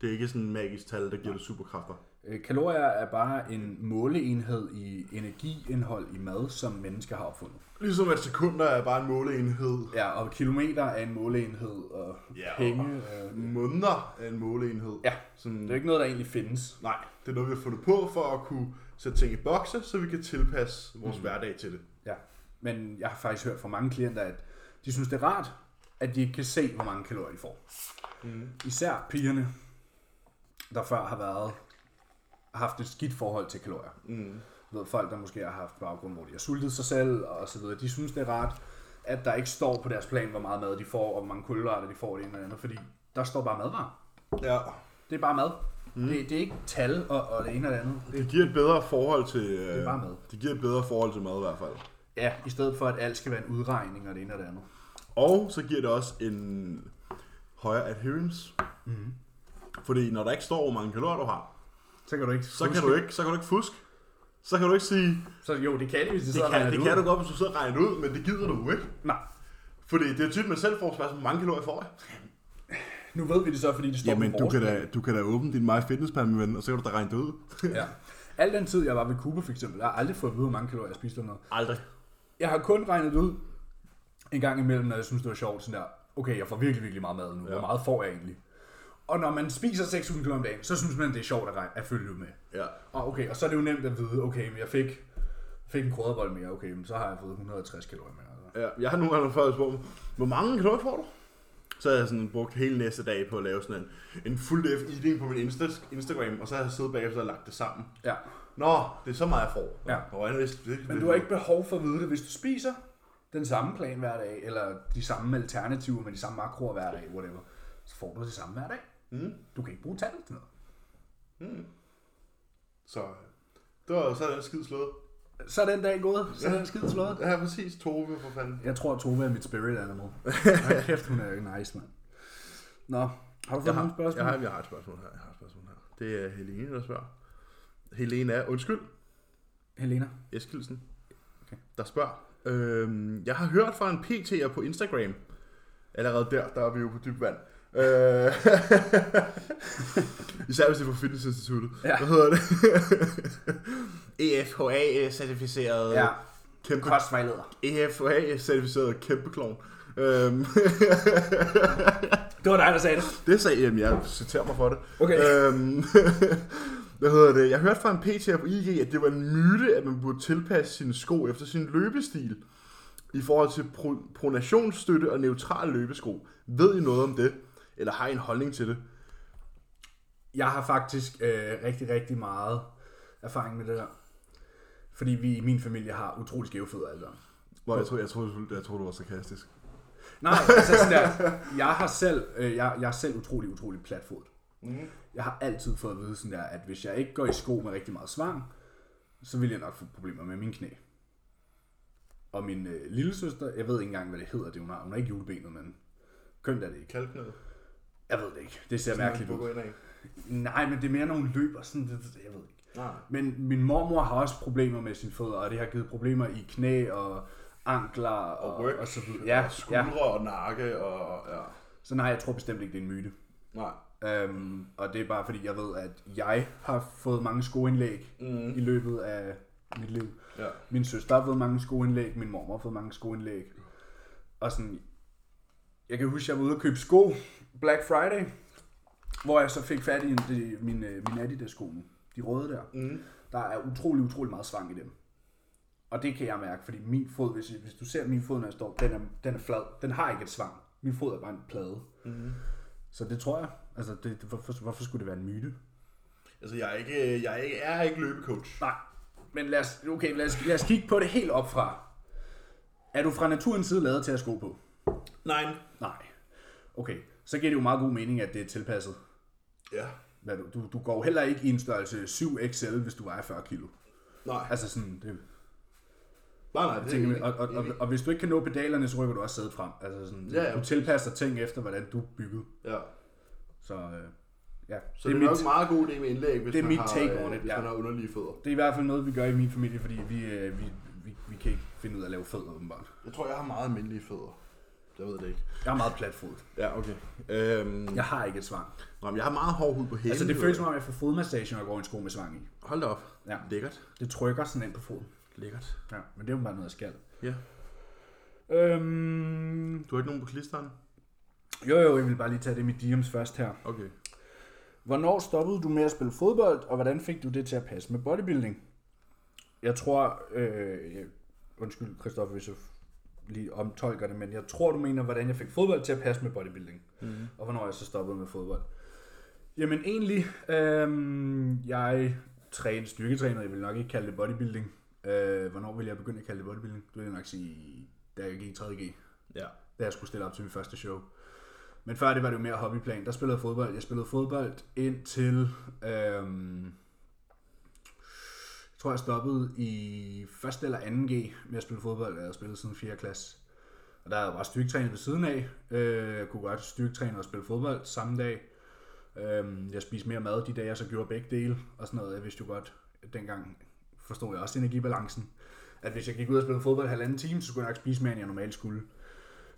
[SPEAKER 3] Det er ikke sådan en magisk tal, der giver dig superkræfter.
[SPEAKER 1] Øh, Kalorier er bare en måleenhed i energiindhold i mad, som mennesker har opfundet.
[SPEAKER 3] Ligesom at sekunder er bare en måleenhed.
[SPEAKER 1] Ja, og kilometer er en måleenhed, og
[SPEAKER 3] Ja, og-
[SPEAKER 1] penge... Øh,
[SPEAKER 3] Måneder er en måleenhed.
[SPEAKER 1] ja,
[SPEAKER 3] Sådan,
[SPEAKER 1] det er jo ikke noget, der egentlig findes.
[SPEAKER 3] Nej, det er noget, vi har fundet på for at kunne sætte ting i bokse, så vi kan tilpasse vores mm. hverdag til det.
[SPEAKER 1] Ja. Men jeg har faktisk hørt fra mange klienter, at de synes, det er rart, at de ikke kan se, hvor mange kalorier de får. Mm. Især pigerne, der før har været har haft et skidt forhold til kalorier. Mm. Du ved, folk, der måske har haft baggrund, hvor de har sultet sig selv og så videre, de synes, det er rart, at der ikke står på deres plan, hvor meget mad de får, og hvor mange kulhydrater de får, og det ene eller andet, fordi der står bare madvarer.
[SPEAKER 3] Ja.
[SPEAKER 1] Det er bare mad. Mm. Det, det, er ikke tal og, og det ene eller det andet.
[SPEAKER 3] Det giver et bedre forhold til... Øh, det
[SPEAKER 1] er bare mad.
[SPEAKER 3] Det giver et bedre forhold til mad i hvert fald.
[SPEAKER 1] Ja, i stedet for, at alt skal være en udregning og det ene og det andet.
[SPEAKER 3] Og så giver det også en højere adherence. Mm. Fordi når der ikke står, hvor mange kalorier du har,
[SPEAKER 1] Så kan du ikke...
[SPEAKER 3] så kan, du ikke, så kan du ikke fuske. Så kan du ikke sige,
[SPEAKER 1] Så jo, det kan de, hvis de
[SPEAKER 3] det
[SPEAKER 1] sidder og regner
[SPEAKER 3] kan, det kan
[SPEAKER 1] ud.
[SPEAKER 3] du godt, hvis du sidder og regner det ud, men det gider du ikke.
[SPEAKER 1] Nej,
[SPEAKER 3] Fordi det er tit, man selv får spørgsmål, hvor mange kalorier får jeg?
[SPEAKER 1] nu ved vi det så, fordi det står
[SPEAKER 3] Jamen,
[SPEAKER 1] på
[SPEAKER 3] du
[SPEAKER 1] vores
[SPEAKER 3] kan,
[SPEAKER 1] plan.
[SPEAKER 3] da, du kan da åbne din MyFitnessPal, min ven, og så kan du da regne det ud.
[SPEAKER 1] Ja. Al den tid, jeg var ved Cuba for eksempel, jeg har aldrig fået at vide, hvor mange kalorier jeg spiste eller noget.
[SPEAKER 3] Aldrig.
[SPEAKER 1] Jeg har kun regnet det ud en gang imellem, når jeg synes, det var sjovt. Sådan der, okay, jeg får virkelig, virkelig meget mad nu. Ja. Hvor meget får jeg egentlig? Og når man spiser 6.000 km om dagen, så synes man, det er sjovt at, regne, at følge med.
[SPEAKER 3] Ja.
[SPEAKER 1] Og, okay, og så er det jo nemt at vide, okay, men jeg fik, fik en krødderbold mere, okay, men så har jeg fået 160 kalorier mere. Altså.
[SPEAKER 3] ja. Jeg har nogle gange før spurgt, dem, hvor mange kalorier får du? Så har jeg sådan brugt hele næste dag på at lave sådan en, en fuld F-eating på min Insta- Instagram, og så har jeg siddet bagefter og lagt det sammen.
[SPEAKER 1] Ja.
[SPEAKER 3] Nå, det er så meget, jeg får.
[SPEAKER 1] Ja.
[SPEAKER 3] Og jeg vidste, det,
[SPEAKER 1] Men du har ikke behov for at vide det, hvis du spiser den samme plan hver dag, eller de samme alternativer med de samme makroer hver dag, whatever, så får du det samme hver dag. Mm. Du kan ikke bruge tallet til noget.
[SPEAKER 3] Så det var så er den skid slået.
[SPEAKER 1] Så er den dag gået, så er den skide slået.
[SPEAKER 3] Ja, præcis. Tove, for fanden.
[SPEAKER 1] Jeg tror, at Tove er mit spirit animal. Hold kæft, hun er nice, mand. Nå, har du fået nogle spørgsmål?
[SPEAKER 3] Jeg har, jeg har et spørgsmål her. Jeg har et spørgsmål her. Det er Helene, der spørger. Helene er, undskyld,
[SPEAKER 1] Helena.
[SPEAKER 3] Eskildsen, okay. der spørger. Øhm, jeg har hørt fra en PT'er på Instagram. Allerede der, der er vi jo på dybt vand. Øh, især hvis det er fra Fitnessinstituttet.
[SPEAKER 1] Ja.
[SPEAKER 3] Hvad hedder det? E EFHA-certificeret
[SPEAKER 1] Ja,
[SPEAKER 3] kæmpe E
[SPEAKER 1] kostvejleder.
[SPEAKER 3] EFHA-certificeret kæmpe klovn. Øhm,
[SPEAKER 1] Det var dig, der sagde det.
[SPEAKER 3] det sagde jeg, jeg citerer mig for det.
[SPEAKER 1] Okay.
[SPEAKER 3] Øhm, hvad hedder det? Jeg hørte fra en PT her på IG, at det var en myte, at man burde tilpasse sine sko efter sin løbestil i forhold til pro- pronationsstøtte og neutral løbesko. Ved I noget om det? Eller har I en holdning til det?
[SPEAKER 1] Jeg har faktisk øh, rigtig, rigtig meget erfaring med det der. Fordi vi i min familie har utrolig skæve fødder alle sammen.
[SPEAKER 3] Hvor jeg tror, jeg tror, jeg tror, du var sarkastisk.
[SPEAKER 1] Nej, altså sådan der, jeg har selv, øh, jeg, jeg er selv utrolig, utrolig platfodet.
[SPEAKER 3] Mhm.
[SPEAKER 1] Mm. Jeg har altid fået at vide sådan der, at hvis jeg ikke går i sko med rigtig meget svang, så vil jeg nok få problemer med min knæ. Og min øh, lille søster, jeg ved ikke engang, hvad det hedder, det hun har. Hun har ikke julebenet, men kønt er det ikke.
[SPEAKER 3] Kaldt noget.
[SPEAKER 1] Jeg ved det ikke. Det ser mærkeligt ud.
[SPEAKER 3] ind af.
[SPEAKER 1] Nej, men det er mere, når hun løber sådan, det, det- jeg ved ikke.
[SPEAKER 3] Nej.
[SPEAKER 1] Men min mormor har også problemer med sine fødder, og det har givet problemer i knæ og ankler og,
[SPEAKER 3] ryg,
[SPEAKER 1] og så videre. Ja, ja.
[SPEAKER 3] Skuldre ja. og nakke og... Ja.
[SPEAKER 1] Så nej, jeg tror bestemt ikke, det er en myte.
[SPEAKER 3] Nej.
[SPEAKER 1] Øhm, og det er bare fordi, jeg ved, at jeg har fået mange skoindlæg mm. i løbet af mit liv.
[SPEAKER 3] Ja.
[SPEAKER 1] Min søster har fået mange skoindlæg, min mormor har fået mange skoindlæg. Og sådan, jeg kan huske, at jeg var ude og købe sko Black Friday, hvor jeg så fik fat i en, de, min, øh, min Adidas-sko nu. De røde der. Mm. Der er utrolig, utrolig meget svang i dem. Og det kan jeg mærke, fordi min fod, hvis, hvis du ser min fod, når jeg står, den er, den er flad. Den har ikke et svang. Min fod er bare en plade. Mm. Så det tror jeg. Altså, det, det, hvorfor, hvorfor skulle det være en myte?
[SPEAKER 3] Altså, jeg er ikke, jeg er ikke, jeg er ikke løbecoach.
[SPEAKER 1] Nej, men lad os, okay, lad os, lad os kigge på det helt op fra. Er du fra naturens side lavet til at have sko på?
[SPEAKER 3] Nej.
[SPEAKER 1] Nej. Okay, så giver det jo meget god mening, at det er tilpasset.
[SPEAKER 3] Ja.
[SPEAKER 1] Hvad du, du, du går jo heller ikke i en størrelse 7XL, hvis du vejer 40 kilo.
[SPEAKER 3] Nej.
[SPEAKER 1] Altså sådan, det,
[SPEAKER 3] nej, nej.
[SPEAKER 1] jeg
[SPEAKER 3] er
[SPEAKER 1] tænker,
[SPEAKER 3] ikke-
[SPEAKER 1] og, og, og, og, hvis du ikke kan nå pedalerne, så rykker du også sædet frem. Altså sådan,
[SPEAKER 3] Ja, ja.
[SPEAKER 1] du tilpasser ting efter, hvordan du er bygget.
[SPEAKER 3] Ja.
[SPEAKER 1] Så øh, ja,
[SPEAKER 3] Så det er, det er nok en meget god idé med indlæg, hvis
[SPEAKER 1] det er
[SPEAKER 3] man
[SPEAKER 1] mit
[SPEAKER 3] har,
[SPEAKER 1] take
[SPEAKER 3] øh,
[SPEAKER 1] on it,
[SPEAKER 3] hvis
[SPEAKER 1] ja.
[SPEAKER 3] man har underlige fødder.
[SPEAKER 1] det er i hvert fald noget, vi gør i min familie, fordi vi, øh, vi, vi, vi kan ikke finde ud af at lave fødder, åbenbart.
[SPEAKER 3] Jeg tror, jeg har meget almindelige fødder. Jeg ved det ikke.
[SPEAKER 1] Jeg er meget platfodet.
[SPEAKER 3] Ja, okay. Øhm, ja.
[SPEAKER 1] Jeg har ikke et svang.
[SPEAKER 3] Nå, men jeg har meget hård hud på hælen.
[SPEAKER 1] Altså det
[SPEAKER 3] ved
[SPEAKER 1] føles
[SPEAKER 3] jeg.
[SPEAKER 1] som om, jeg får fodmassage, når jeg går i en sko med svang i.
[SPEAKER 3] Hold da op.
[SPEAKER 1] Ja.
[SPEAKER 3] Lækkert.
[SPEAKER 1] Det trykker sådan ind på foden.
[SPEAKER 3] Lækkert.
[SPEAKER 1] Ja, men det er jo bare noget, jeg skal.
[SPEAKER 3] Ja.
[SPEAKER 1] Øhm,
[SPEAKER 3] Du har ikke nogen på klisteren?
[SPEAKER 1] jo jo, jeg vil bare lige tage det med DM's først her.
[SPEAKER 3] Okay.
[SPEAKER 1] Hvornår stoppede du med at spille fodbold, og hvordan fik du det til at passe med bodybuilding? Jeg tror, øh, jeg- undskyld Christoffer, hvis jeg lige omtolker det, men jeg tror, du mener, hvordan jeg fik fodbold til at passe med bodybuilding, mm-hmm. og hvornår jeg så stoppede med fodbold. Jamen egentlig, øh, jeg træner styrketræner, jeg vil nok ikke kalde det bodybuilding. Øh, hvornår vil jeg begynde at kalde det bodybuilding? Du vil jeg nok sige, da jeg gik i 3.G,
[SPEAKER 2] Ja.
[SPEAKER 1] da jeg skulle stille op til mit første show. Men før det var det jo mere hobbyplan. Der spillede jeg fodbold. Jeg spillede fodbold indtil... Øhm, jeg tror, jeg stoppede i 1. eller 2. G med at spille fodbold. Jeg havde spillet siden 4. klasse. Og der havde jeg bare styrketrænet ved siden af. Øh, Jeg kunne godt styrketræne og spille fodbold samme dag. Øhm, Jeg spiste mere mad de dage, jeg så gjorde begge dele. Og sådan noget. Jeg vidste jo godt, at dengang forstod jeg også energibalancen. At hvis jeg gik ud og spillede fodbold halvanden time, så skulle jeg nok spise mere, end jeg normalt skulle.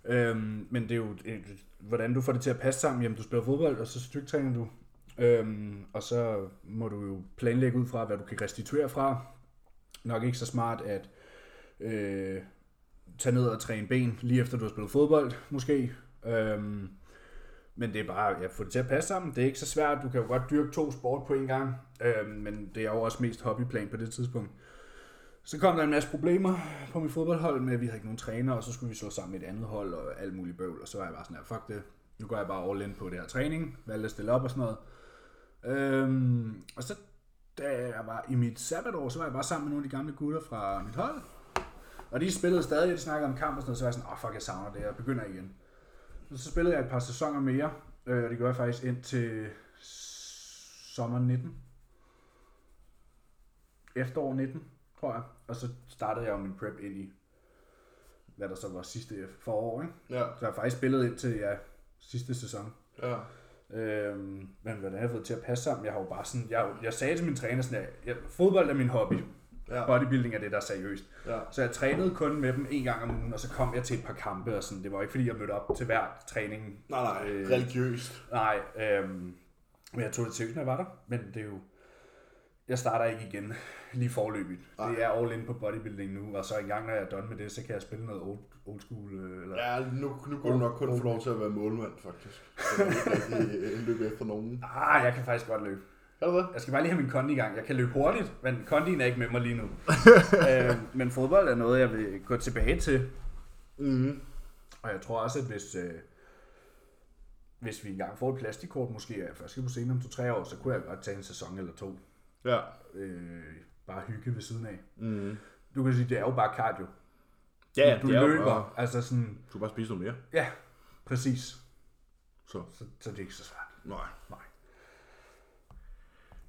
[SPEAKER 1] Øhm, men det er jo, øh, hvordan du får det til at passe sammen. Jamen, du spiller fodbold, og så styrketræner du. Øhm, og så må du jo planlægge ud fra, hvad du kan restituere fra. Nok ikke så smart at øh, tage ned og træne ben, lige efter du har spillet fodbold, måske. Øhm, men det er bare, ja, få det til at passe sammen. Det er ikke så svært. Du kan jo godt dyrke to sport på en gang. Øhm, men det er jo også mest hobbyplan på det tidspunkt. Så kom der en masse problemer på mit fodboldhold med, at vi havde ikke nogen træner, og så skulle vi slå sammen med et andet hold og alt muligt bøvl, og så var jeg bare sådan her, fuck det, nu går jeg bare all in på det her træning, valgte at stille op og sådan noget. Øhm, og så da jeg var i mit sabbatår, så var jeg bare sammen med nogle af de gamle gutter fra mit hold, og de spillede stadig, de snakkede om kamp og sådan noget, så var jeg sådan, åh oh, fuck, jeg savner det, jeg begynder igen. Og så spillede jeg et par sæsoner mere, øh, og det gjorde jeg faktisk indtil sommeren 19. Efterår 19, tror jeg. Og så startede jeg jo min prep ind i, hvad der så var sidste forår, ikke?
[SPEAKER 3] Ja.
[SPEAKER 1] Så jeg har faktisk spillet indtil ja, sidste sæson.
[SPEAKER 3] Ja.
[SPEAKER 1] Øhm, men hvordan har jeg fået til at passe sammen? Jeg har jo bare sådan, jeg, har jo- jeg sagde til min træner sådan, at jeg, fodbold er min hobby.
[SPEAKER 3] Ja.
[SPEAKER 1] Bodybuilding er det, der er seriøst.
[SPEAKER 3] Ja.
[SPEAKER 1] Så jeg trænede kun med dem en gang om ugen, og så kom jeg til et par kampe, og sådan. Det var ikke, fordi jeg mødte op til hver træning.
[SPEAKER 3] Nej, nej.
[SPEAKER 1] Øh.
[SPEAKER 3] Religiøst.
[SPEAKER 1] Nej, øhm, men jeg tog det seriøst, når jeg var der. Men det er jo, jeg starter ikke igen lige forløbigt. Ej. Det er all in på bodybuilding nu, og så en gang, når jeg er done med det, så kan jeg spille noget old, old school. øh, Eller,
[SPEAKER 3] Ja, nu, nu kunne du nok kun få lov til at være målmand, faktisk. Så du ikke rigtig løbe efter nogen.
[SPEAKER 1] Ah, jeg kan faktisk godt løbe.
[SPEAKER 3] Er det det?
[SPEAKER 1] Jeg skal bare lige have min kondi i gang. Jeg kan løbe hurtigt, men kondien er ikke med mig lige nu. øh, men fodbold er noget, jeg vil gå tilbage til.
[SPEAKER 3] Mm.
[SPEAKER 1] Og jeg tror også, at hvis, øh, hvis vi engang får et plastikkort, måske er jeg først på scenen om to-tre år, så kunne jeg godt tage en sæson eller to.
[SPEAKER 3] Ja.
[SPEAKER 1] Øh, bare hygge ved siden af.
[SPEAKER 3] Mm.
[SPEAKER 1] Du kan sige, det er jo bare cardio.
[SPEAKER 2] Ja, ja,
[SPEAKER 1] Du
[SPEAKER 2] det er jo
[SPEAKER 1] løber,
[SPEAKER 3] bare-
[SPEAKER 1] altså sådan,
[SPEAKER 3] Du skal bare spise noget mere.
[SPEAKER 1] ja, præcis.
[SPEAKER 3] Så.
[SPEAKER 1] Så, så det er ikke så svært.
[SPEAKER 3] Nej.
[SPEAKER 1] Nej.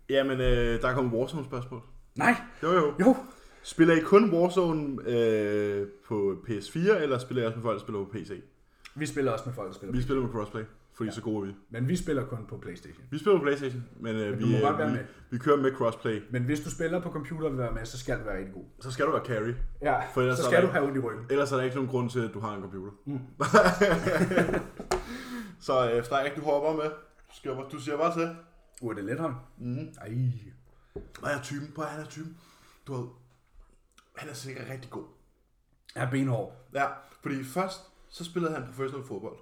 [SPEAKER 3] Jamen, øh, der er kommet Warzone-spørgsmål.
[SPEAKER 1] Nej,
[SPEAKER 3] Jo, jo.
[SPEAKER 1] jo.
[SPEAKER 3] Spiller I kun Warzone øh, på PS4, eller spiller I også med folk, der spiller på PC?
[SPEAKER 1] Vi spiller også med folk, der spiller.
[SPEAKER 3] Vi spiller med crossplay, fordi ja.
[SPEAKER 1] Ja.
[SPEAKER 3] så gode er vi.
[SPEAKER 1] Men vi spiller kun på Playstation.
[SPEAKER 3] Vi spiller på Playstation, men, øh,
[SPEAKER 1] Men
[SPEAKER 3] vi,
[SPEAKER 1] du må godt være
[SPEAKER 3] vi,
[SPEAKER 1] med.
[SPEAKER 3] vi kører med crossplay.
[SPEAKER 1] Men hvis du spiller på computer og vil være med, så skal du være rigtig god.
[SPEAKER 3] Så skal du være carry.
[SPEAKER 1] Ja,
[SPEAKER 3] For ellers
[SPEAKER 1] så
[SPEAKER 3] er
[SPEAKER 1] skal
[SPEAKER 3] der
[SPEAKER 1] du have ondt i ryggen.
[SPEAKER 3] Ellers er der ikke nogen grund til, at du har en computer. Mm. så øh, Strik, du hopper med. Du, skubber. du siger bare til.
[SPEAKER 1] Uh, er det lettere?
[SPEAKER 3] Mhm.
[SPEAKER 1] Mm. Ej.
[SPEAKER 3] Og jeg er typen. Prøv at han er typen. Du ved, han er sikkert rigtig god.
[SPEAKER 1] Jeg er benhård.
[SPEAKER 3] Ja, fordi først, så spillede han professionel fodbold.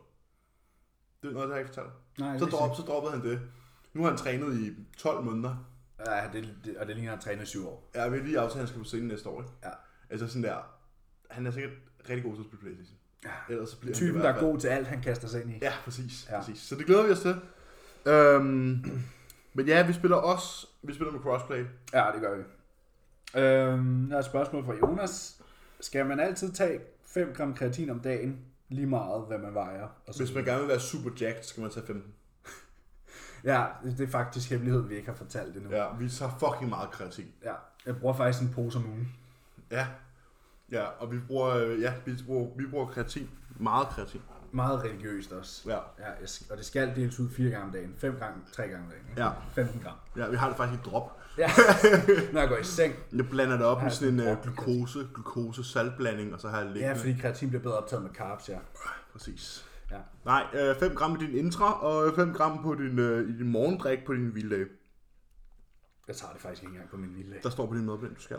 [SPEAKER 3] Det er noget, der jeg ikke fortalt.
[SPEAKER 1] Nej,
[SPEAKER 3] så,
[SPEAKER 1] det er
[SPEAKER 3] drop, så droppede han det. Nu har han trænet i 12 måneder.
[SPEAKER 1] Ja, det, det, og det ligner at træne i syv år.
[SPEAKER 3] Jeg vil lige aftale, at han skal på scenen næste år. Ikke?
[SPEAKER 1] Ja.
[SPEAKER 3] Altså sådan der, han er sikkert rigtig god til at spille Playstation. Ja. Ellers så bliver
[SPEAKER 1] Typen,
[SPEAKER 3] han det i
[SPEAKER 1] der
[SPEAKER 3] hvert
[SPEAKER 1] er
[SPEAKER 3] fald.
[SPEAKER 1] god til alt, han kaster sig ind i.
[SPEAKER 3] Ja, præcis. Ja.
[SPEAKER 1] Ja.
[SPEAKER 3] præcis. Så det glæder vi os til. Øhm, men ja, vi spiller også, vi spiller med crossplay.
[SPEAKER 1] Ja, det gør vi. Øhm, der er et spørgsmål fra Jonas. Skal man altid tage 5 gram kreatin om dagen, lige meget hvad man vejer? Og så
[SPEAKER 3] Hvis man gerne vil være super jacked, så skal man tage 15.
[SPEAKER 1] Ja, det er faktisk hemmeligheden, vi ikke har fortalt endnu.
[SPEAKER 3] Ja, vi tager fucking meget kreatin.
[SPEAKER 1] ja. Jeg bruger faktisk en pose om ugen.
[SPEAKER 3] Ja. Ja, og vi bruger, øh, ja, vi bruger, vi bruger kreatin. Meget kreatin.
[SPEAKER 1] Meget religiøst også.
[SPEAKER 3] Ja.
[SPEAKER 1] ja jeg sk- og det skal deles ud 4 gange om dagen. 5 gange, 3 gange om dagen. Ikke?
[SPEAKER 3] Ja.
[SPEAKER 1] 15 gram.
[SPEAKER 3] ja, vi har det faktisk i drop.
[SPEAKER 1] Ja. Når jeg går i seng.
[SPEAKER 3] Jeg blander det op med
[SPEAKER 1] Ja,
[SPEAKER 3] sådan en
[SPEAKER 1] det er
[SPEAKER 3] øh,
[SPEAKER 1] godt.
[SPEAKER 3] glukose, glukose saltblanding, og så har jeg det
[SPEAKER 1] Ja,
[SPEAKER 3] liggende.
[SPEAKER 1] fordi kreatin bliver bedre optaget med carbs, ja.
[SPEAKER 3] Præcis.
[SPEAKER 1] ja.
[SPEAKER 3] Nej, øh, 5 gram i din intra, og 5 gram på din, øh, i din morgendrik på din hviledag.
[SPEAKER 1] Jeg tager det faktisk ikke engang på min lille.
[SPEAKER 3] Der står på din madplan, du skal.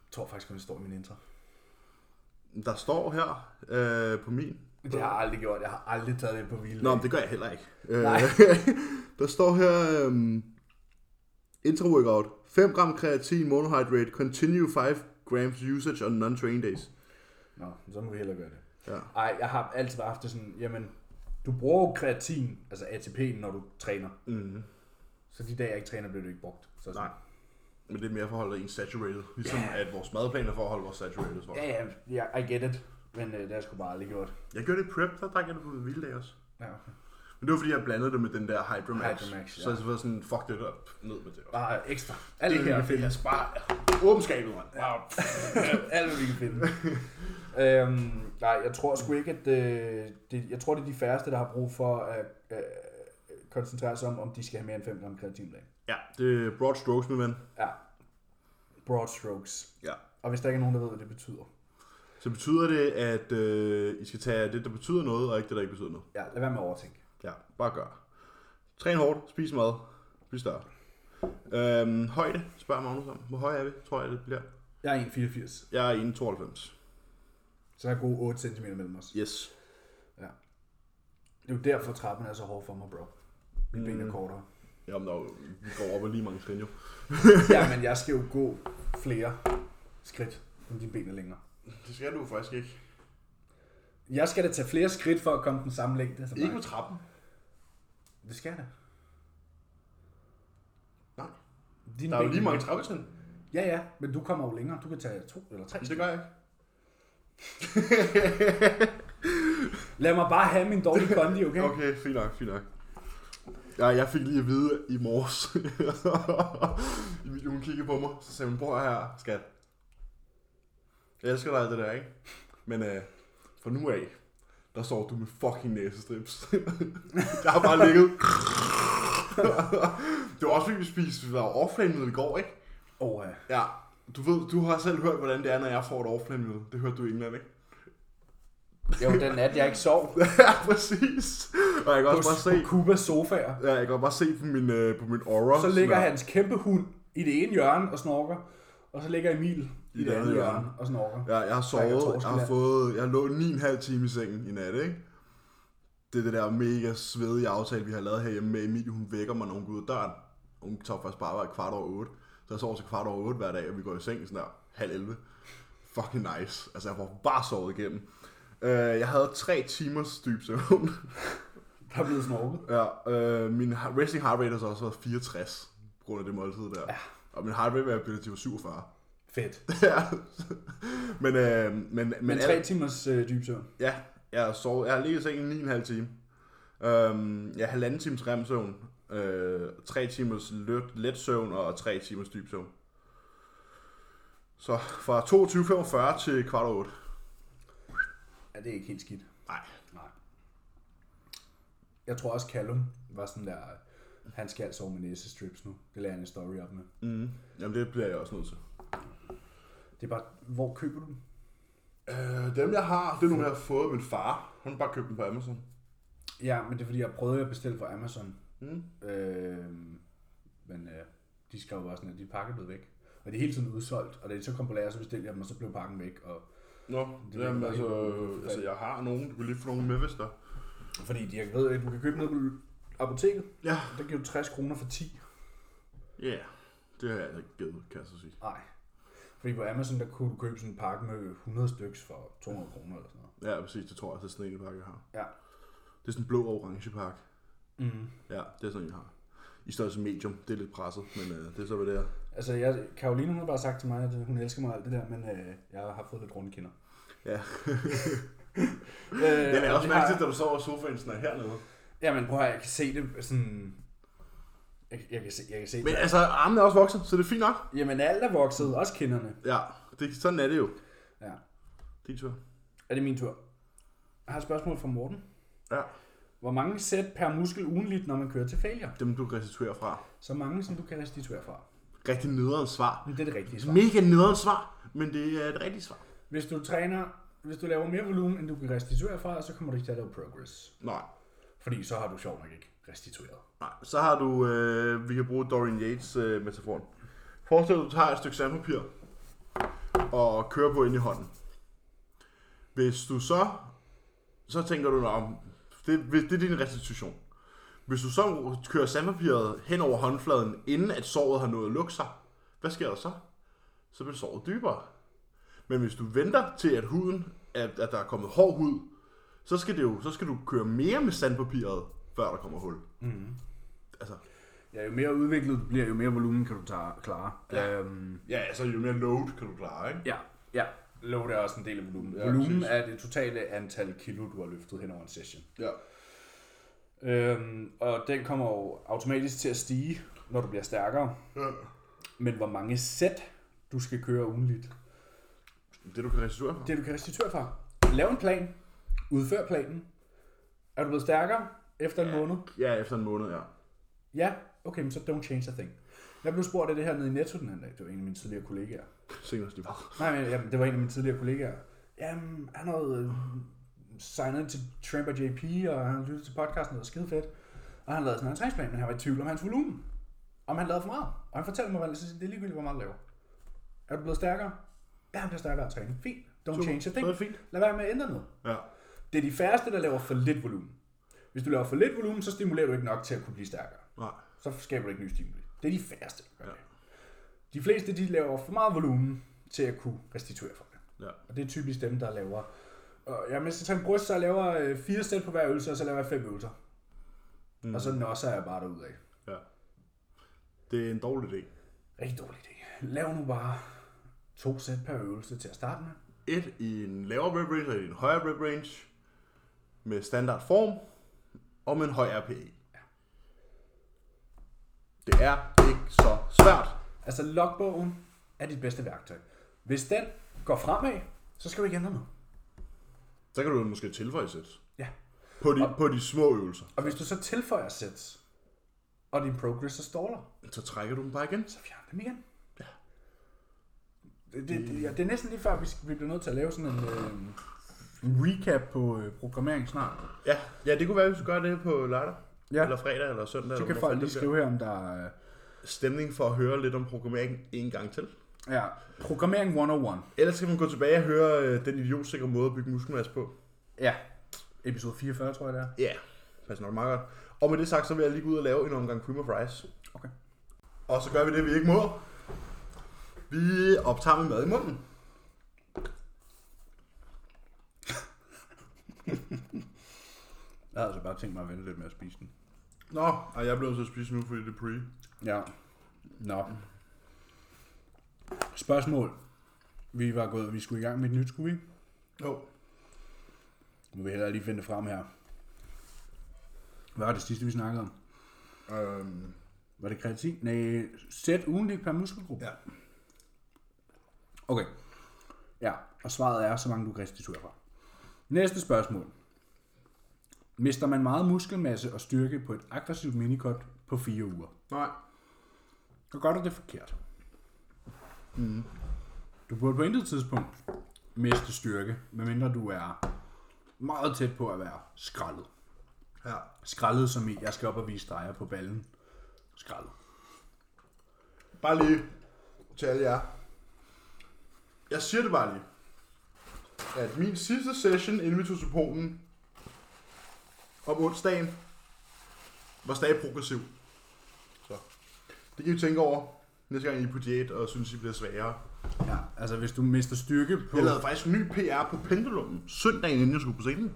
[SPEAKER 1] Jeg tror faktisk, at det står i min intro.
[SPEAKER 3] Der står her øh, på min.
[SPEAKER 1] Det har jeg aldrig gjort. Jeg har aldrig taget det på hvile.
[SPEAKER 3] Nå, men det gør jeg heller ikke. Øh,
[SPEAKER 1] Nej.
[SPEAKER 3] der står her øhm, øh, intra workout. 5 gram kreatin monohydrate, continue 5 grams usage on non-training days.
[SPEAKER 1] Nå, så må vi hellere gøre det.
[SPEAKER 3] Ja.
[SPEAKER 1] Ej, jeg har altid bare haft det sådan, jamen, du bruger jo kreatin, altså ATP'en, når du træner.
[SPEAKER 3] Mm.
[SPEAKER 1] Så de dage, jeg ikke træner, bliver det ikke brugt. Så sådan,
[SPEAKER 3] Nej. Men det er mere for at holde en saturated. Ligesom
[SPEAKER 1] Ja.
[SPEAKER 3] at vores madplan er for at holde vores saturated. For.
[SPEAKER 1] Ja, ja, ja, I get it. Men øh, det har jeg sgu bare aldrig gjort.
[SPEAKER 3] Jeg gjorde det i prep, der drak jeg det på vilde dage også.
[SPEAKER 1] Ja, okay.
[SPEAKER 3] Men det var fordi, jeg blandede det med den der Hydromax.
[SPEAKER 1] Hydromax, ja.
[SPEAKER 3] Så jeg var sådan, fuck det op, ned med det.
[SPEAKER 1] Bare ekstra. Alt
[SPEAKER 3] det
[SPEAKER 1] det, vi
[SPEAKER 3] her er
[SPEAKER 1] kan finde.
[SPEAKER 3] fedt. Bare åbenskabet, mand. Bare
[SPEAKER 1] Alt, hvad vi kan finde. øhm, nej, jeg tror sgu ikke, at øh, det, jeg tror, det er de færreste, der har brug for at øh, koncentrere sig om, om de skal have mere end 5 gram kreatin om dagen.
[SPEAKER 3] Ja, det er broad strokes, min ven.
[SPEAKER 1] Ja. Broad strokes.
[SPEAKER 3] Ja.
[SPEAKER 1] Og hvis der ikke er nogen, der ved, hvad det betyder.
[SPEAKER 3] Så betyder det, at øh, I skal tage det, der betyder noget, og ikke det, der ikke betyder noget.
[SPEAKER 1] Ja, lad være med at overtænke.
[SPEAKER 3] Ja, bare gør. Træn hårdt, spis mad, bliv større. Øhm, højde, spørger Magnus om. Hvor høj er vi, tror jeg, det bliver?
[SPEAKER 1] Jeg er 1,84.
[SPEAKER 3] Jeg er 92.
[SPEAKER 1] Så der er gode 8 cm mellem os.
[SPEAKER 3] Yes.
[SPEAKER 1] Det er jo derfor, trappen er så hård for mig, bro. Mit ben er kortere.
[SPEAKER 3] Jamen, der er jo, vi går op og lige mange trin, jo.
[SPEAKER 1] Ja, men jeg skal jo gå flere skridt, om dine ben er længere.
[SPEAKER 3] Det skal du faktisk ikke.
[SPEAKER 1] Jeg skal da tage flere skridt for at komme den samme længde som
[SPEAKER 3] Ikke på
[SPEAKER 1] dig.
[SPEAKER 3] trappen.
[SPEAKER 1] Det skal jeg da.
[SPEAKER 3] Nej.
[SPEAKER 1] Dine
[SPEAKER 3] Der er jo
[SPEAKER 1] ben-
[SPEAKER 3] lige mange trappetrin.
[SPEAKER 1] Ja, ja, men du kommer jo længere. Du kan tage to eller tre.
[SPEAKER 3] Men Det gør jeg ikke.
[SPEAKER 1] Lad mig bare have min dårlige kondi, okay? okay.
[SPEAKER 3] Okay, fint nok, fint nok. Ja, jeg fik lige at vide i morges, Emilie, hun kiggede på mig, så sagde hun, prøv at høre her, skat. Jeg elsker dig, det der, ikke? Men øh, fra nu af, der står du med fucking næsestrips. jeg har bare ligget. det var også, fordi vi spiste, vi var offline med i går, ikke?
[SPEAKER 1] Oh, ja.
[SPEAKER 3] Ja, du ved, du har selv hørt, hvordan det er, når jeg får et offline med. Det hørte du i England, ikke?
[SPEAKER 1] Jo, den nat, jeg ikke sov.
[SPEAKER 3] ja, præcis. Og jeg kan
[SPEAKER 1] På,
[SPEAKER 3] også bare se,
[SPEAKER 1] på Kubas sofaer.
[SPEAKER 3] Ja, jeg kan bare se på min, øh, på min aura.
[SPEAKER 1] Så ligger
[SPEAKER 3] sådan
[SPEAKER 1] hans kæmpe hund i det ene hjørne og snorker. Og så ligger Emil i det andet hjørne og snorker.
[SPEAKER 3] der. Ja, jeg har
[SPEAKER 1] Ej, jeg tror,
[SPEAKER 3] sovet,
[SPEAKER 1] jeg
[SPEAKER 3] jeg
[SPEAKER 1] skal
[SPEAKER 3] har
[SPEAKER 1] lade-
[SPEAKER 3] fået, jeg lå 9,5 timer i sengen i nat, ikke? Det er det der mega svedige aftale, vi har lavet herhjemme med Emilie. Hun vækker mig, når hun går ud af døren. Hun tager først bare arbejde kvart over 8. Så jeg sover til kvart over 8 hver dag, og vi går i seng sådan der halv 11. Fucking nice. Altså, jeg får bare sovet igennem. Øh, jeg havde 3 timers dyb søvn.
[SPEAKER 1] Der er blevet snorket.
[SPEAKER 3] Ja, øh, min ha- racing heart rate har så også været 64, på grund af det måltid der. Ja. Og min heart rate variability var 47.
[SPEAKER 1] Fedt.
[SPEAKER 3] ja. Men, øh, men, men,
[SPEAKER 1] Men
[SPEAKER 3] men
[SPEAKER 1] tre timers øh, dyb søvn.
[SPEAKER 3] ja, jeg har, sovet, jeg har ligget i sengen 9,5 time. Øhm, jeg har halvanden times remsøvn, øh, 3 timers let, let søvn og 3 timers dyb søvn. Så fra 22.45 til kvart over 8.
[SPEAKER 1] Ja, det er ikke helt skidt.
[SPEAKER 3] Nej.
[SPEAKER 1] Nej. Jeg tror også, Callum var sådan der, han skal sove med næsestrips nu. Det lader han en story op med.
[SPEAKER 3] Mm. Jamen det bliver jeg også nødt til.
[SPEAKER 1] Det er bare, hvor køber du dem?
[SPEAKER 3] Øh, dem jeg har, det er nogle jeg har fået af min far. Han har bare købt dem på Amazon.
[SPEAKER 1] Ja, men det er fordi, jeg prøvede at bestille fra Amazon.
[SPEAKER 3] Mm.
[SPEAKER 1] Øh, men øh, de skrev bare sådan, at de pakker blev væk. Og det er hele tiden udsolgt. Og da de så kom på lager, så bestilte jeg dem, og så blev pakken væk. Og,
[SPEAKER 3] Nå,
[SPEAKER 1] Det
[SPEAKER 3] det jamen,
[SPEAKER 1] er
[SPEAKER 3] altså,
[SPEAKER 1] helt-
[SPEAKER 3] altså, jeg har nogen. Du kan lige få nogen med, hvis der.
[SPEAKER 1] fordi de, jeg ved, at du kan købe ned på apoteket.
[SPEAKER 3] Ja.
[SPEAKER 1] Der giver du 60 kroner for 10.
[SPEAKER 3] Ja, yeah. det har jeg altså ikke givet, kan jeg så sige.
[SPEAKER 1] Nej. Fordi på Amazon, der kunne du købe sådan en pakke med 100 styks for 200 kroner eller sådan noget.
[SPEAKER 3] Ja, præcis. Det tror jeg, at det er sådan en pakke, jeg har.
[SPEAKER 1] Ja.
[SPEAKER 3] Det er sådan en blå og orange pakke.
[SPEAKER 1] Mm.
[SPEAKER 3] Ja, det er sådan en, jeg har. I størrelse medium. Det er lidt presset, men øh, det er så, hvad det er.
[SPEAKER 1] Altså, jeg, Karoline hun har bare sagt til mig, at hun elsker mig og alt det der, men øh, jeg har fået lidt runde kinder.
[SPEAKER 3] Ja.
[SPEAKER 1] øh,
[SPEAKER 3] Jeg lader
[SPEAKER 1] og
[SPEAKER 3] også
[SPEAKER 1] det
[SPEAKER 3] mærke
[SPEAKER 1] har-
[SPEAKER 3] til, da du sover i sofaen sådan her hernede.
[SPEAKER 1] Jamen, prøv at høre, jeg kan se det sådan... Jeg, jeg, kan, se, jeg kan se
[SPEAKER 3] Men
[SPEAKER 1] det.
[SPEAKER 3] altså, armen er også vokset, så det er fint nok.
[SPEAKER 1] Jamen, alt er vokset, også kinderne.
[SPEAKER 3] Ja, det, sådan er det jo.
[SPEAKER 1] Ja.
[SPEAKER 3] Din tur.
[SPEAKER 1] Er det min tur? Jeg har et spørgsmål fra Morten.
[SPEAKER 3] Ja.
[SPEAKER 1] Hvor mange sæt per muskel ugenligt, når man kører til failure?
[SPEAKER 3] Dem, du restituerer fra.
[SPEAKER 1] Så mange, som du kan restituere fra.
[SPEAKER 3] Rigtig nederen svar.
[SPEAKER 1] Men det er det rigtige svar.
[SPEAKER 3] Mega nederen svar, men det er et rigtigt svar.
[SPEAKER 1] Hvis du træner, hvis du laver mere volumen, end du kan restituere fra, så kommer du ikke til at lave progress.
[SPEAKER 3] Nej,
[SPEAKER 1] Fordi så har du sjovt nok ikke restitueret.
[SPEAKER 3] Nej, så har du, øh, vi kan bruge Dorian Yates øh, metaforen. Forestil dig, du tager et stykke sandpapir og kører på ind i hånden. Hvis du så, så tænker du, om det, hvis- det er din restitution. Hvis du så kører sandpapiret hen over håndfladen, inden at såret har nået at lukke sig, hvad sker der så? Så bliver såret dybere. Men hvis du venter til, at huden, at, at der er kommet hård hud, så skal, det jo, så skal du køre mere med sandpapiret, før der kommer hul. Mm. Altså,
[SPEAKER 1] Ja, jo mere udviklet du bliver, jo mere volumen kan du tage, klare. Ja. Øhm,
[SPEAKER 3] ja, altså jo mere load kan du klare, ikke?
[SPEAKER 1] ja, ja. Load er også en del af volumen. Ja,
[SPEAKER 3] Ja,
[SPEAKER 1] volumen
[SPEAKER 3] præcis.
[SPEAKER 1] er det totale antal kilo, du har løftet hen over en session.
[SPEAKER 3] Ja.
[SPEAKER 1] Øhm, og den kommer jo automatisk til at stige, når du bliver stærkere.
[SPEAKER 3] ja.
[SPEAKER 1] Men hvor mange sæt du skal køre ugenligt,
[SPEAKER 3] Det du kan restituere for.
[SPEAKER 1] det du kan restituere fra. Lav en plan. Udfør planen. Er du blevet stærkere efter en måned?
[SPEAKER 3] Ja, efter en måned, ja.
[SPEAKER 1] Ja, okay, men så don't change a thing. Jeg blev spurgt af det her nede i Netto den anden dag. Det var en af mine tidligere kollegaer.
[SPEAKER 3] Senest lige.
[SPEAKER 1] Nej, men jamen, det var en af mine tidligere kollegaer. Jamen, han havde øh, signet ind til Tramp og JP, og han lyttede til podcasten, det var skide fedt. Og han lavede sådan en træningsplan, men han var i tvivl om hans volumen. Om han lavede for meget. Og han fortalte mig, hvad han synes, det er ligegyldigt, hvor meget du laver. Er du blevet stærkere? Ja, han bliver stærkere af træning. Fint. Don't
[SPEAKER 3] Super.
[SPEAKER 1] change a thing.
[SPEAKER 3] Så er det fint.
[SPEAKER 1] Lad være med at ændre noget.
[SPEAKER 3] Ja.
[SPEAKER 1] Det er de færreste, der laver for lidt volumen. Hvis du laver for lidt volumen, så stimulerer du ikke nok til at kunne blive stærkere.
[SPEAKER 3] Nej.
[SPEAKER 1] Så skaber du ikke ny stimuli. Det er de færreste, der gør det. De fleste, de laver for meget volumen til at kunne restituere for det.
[SPEAKER 3] Ja.
[SPEAKER 1] Og det er typisk dem, der laver... Og jeg mens jeg tager en bryst, så jeg laver øh, fire sæt på hver øvelse, og så laver jeg fem øvelser. Mm. Og så nosser jeg bare derudad.
[SPEAKER 3] ja. Det er en dårlig idé.
[SPEAKER 1] Rigtig dårlig idé. Lav nu bare to sæt per øvelse til at starte med.
[SPEAKER 3] Et i en lavere rep range og et i en højere rep range. Med standard form og med en høj RPE. Det er ikke så svært.
[SPEAKER 1] Altså logbogen er dit bedste værktøj. Hvis den går fremad, så skal du ikke ændre noget.
[SPEAKER 3] Så kan du måske tilføje sæt.
[SPEAKER 1] Ja.
[SPEAKER 3] På de, på de små øvelser.
[SPEAKER 1] Og hvis du så tilføjer sæt, og din progress så staller,
[SPEAKER 3] Så trækker du dem bare igen.
[SPEAKER 1] så fjern dem igen. Ja. Det, det, det, ja, det er næsten lige før, vi, skal, vi bliver nødt til at lave sådan en, øh, en recap på øh, programmering snart.
[SPEAKER 3] Ja, ja det kunne være, hvis du gør det på lørdag.
[SPEAKER 1] Ja.
[SPEAKER 3] Eller fredag eller søndag.
[SPEAKER 1] Så
[SPEAKER 3] eller
[SPEAKER 1] kan folk
[SPEAKER 3] hvornår
[SPEAKER 1] lige
[SPEAKER 3] det bliver.
[SPEAKER 1] skrive her, om der øh, er
[SPEAKER 3] Stemning for at høre lidt om programmering en gang til.
[SPEAKER 1] ja, programmering 101.
[SPEAKER 3] Ellers skal man gå tilbage og høre øh, den idiotsikre måde at bygge muskelmasse på.
[SPEAKER 1] Ja. Episode 44, tror jeg det er.
[SPEAKER 3] Ja, yeah. passer nok meget godt. Og med det sagt, så vil jeg lige gå ud og lave en omgang cream of rice.
[SPEAKER 1] Okay.
[SPEAKER 3] Og så gør vi det, vi ikke må. Vi optager med mad i munden.
[SPEAKER 1] Jeg havde altså bare tænkt mig at vente lidt med at spise den.
[SPEAKER 3] Nå, og jeg blev så spise nu, fordi det er pre.
[SPEAKER 1] Ja. Nå. Spørgsmål. Vi var gået, vi skulle i gang med et nyt, skulle vi?
[SPEAKER 3] Jo.
[SPEAKER 1] Må vi hellere lige finde det frem her. Hvad var det sidste, vi snakkede om?
[SPEAKER 3] Øhm,
[SPEAKER 1] Var det kreatin? Nej, sæt ugentligt per muskelgruppe.
[SPEAKER 3] ja.
[SPEAKER 1] Okay. Ja, og svaret er, så mange du kan restituere fra. Næste spørgsmål. Mister man meget muskelmasse og styrke på et aggressivt minikot på fire uger?
[SPEAKER 3] Nej.
[SPEAKER 1] Så gør du det forkert. Mm. Du burde på intet tidspunkt miste styrke, medmindre du er meget tæt på at være skrællet.
[SPEAKER 3] Ja.
[SPEAKER 1] Skrællet som i, jeg skal op og vise streger på ballen. Skrællet.
[SPEAKER 3] Bare lige til alle jer. Jeg siger det bare lige. At min sidste session, inden vi tog til Polen, om onsdagen, var stadig progressiv. Så. Det kan I tænke over, næste gang I er på diæt og synes, I bliver sværere.
[SPEAKER 1] Ja, altså hvis du mister styrke på...
[SPEAKER 3] Jeg lavede faktisk en ny PR på Pendulum søndagen, inden jeg skulle på scenen.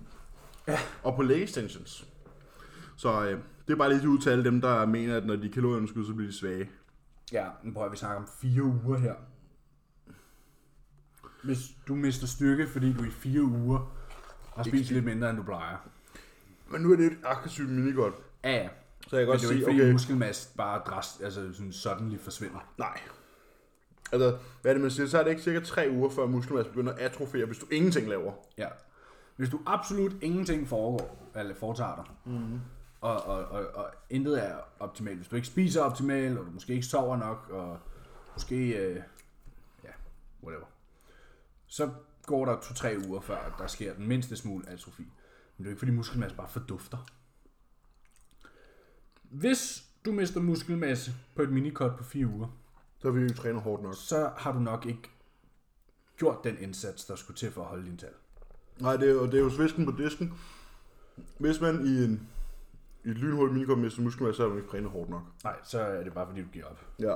[SPEAKER 3] Ja. Og på leg extensions. Så øh, det er bare lige til ud til alle dem, der mener, at når de er kalorieunderskud, så bliver de svage.
[SPEAKER 1] Ja, men prøv at vi snakker om fire uger her. Hvis du mister styrke, fordi du i fire uger har spist lidt mindre, end du plejer.
[SPEAKER 3] Men nu er det et aggressivt minigolf.
[SPEAKER 1] Ja, ja.
[SPEAKER 3] Så
[SPEAKER 1] Men
[SPEAKER 3] jeg kan godt
[SPEAKER 1] det er jo ikke,
[SPEAKER 3] sige,
[SPEAKER 1] fordi okay.
[SPEAKER 3] okay,
[SPEAKER 1] muskelmasse bare drast, altså sådan suddenly forsvinder.
[SPEAKER 3] nej. Altså, hvad er det, man siger? Så er det ikke cirka tre uger, før muskelmasse begynder at atrofere, hvis du ingenting laver.
[SPEAKER 1] Ja. Hvis du absolut ingenting foregår, eller foretager dig, mm-hmm. og, og, og, og intet er optimalt, hvis du ikke spiser optimalt, og du måske ikke sover nok, og måske, øh, ja, whatever, så går der to-tre uger, før at der sker den mindste smule atrofi. Men det er jo ikke, fordi muskelmasse bare fordufter. Hvis du mister muskelmasse på et minikot på fire uger,
[SPEAKER 3] Så vi jo træner hårdt nok.
[SPEAKER 1] så har du nok ikke gjort den indsats, der skulle til for at holde din tal.
[SPEAKER 3] Nej, det er, og det er jo svisken på disken. Hvis man i en i et lynhul minigolf mister muskelmasse, så har man ikke trænet hårdt nok.
[SPEAKER 1] Nej, så er det bare, fordi du giver op.
[SPEAKER 3] Ja,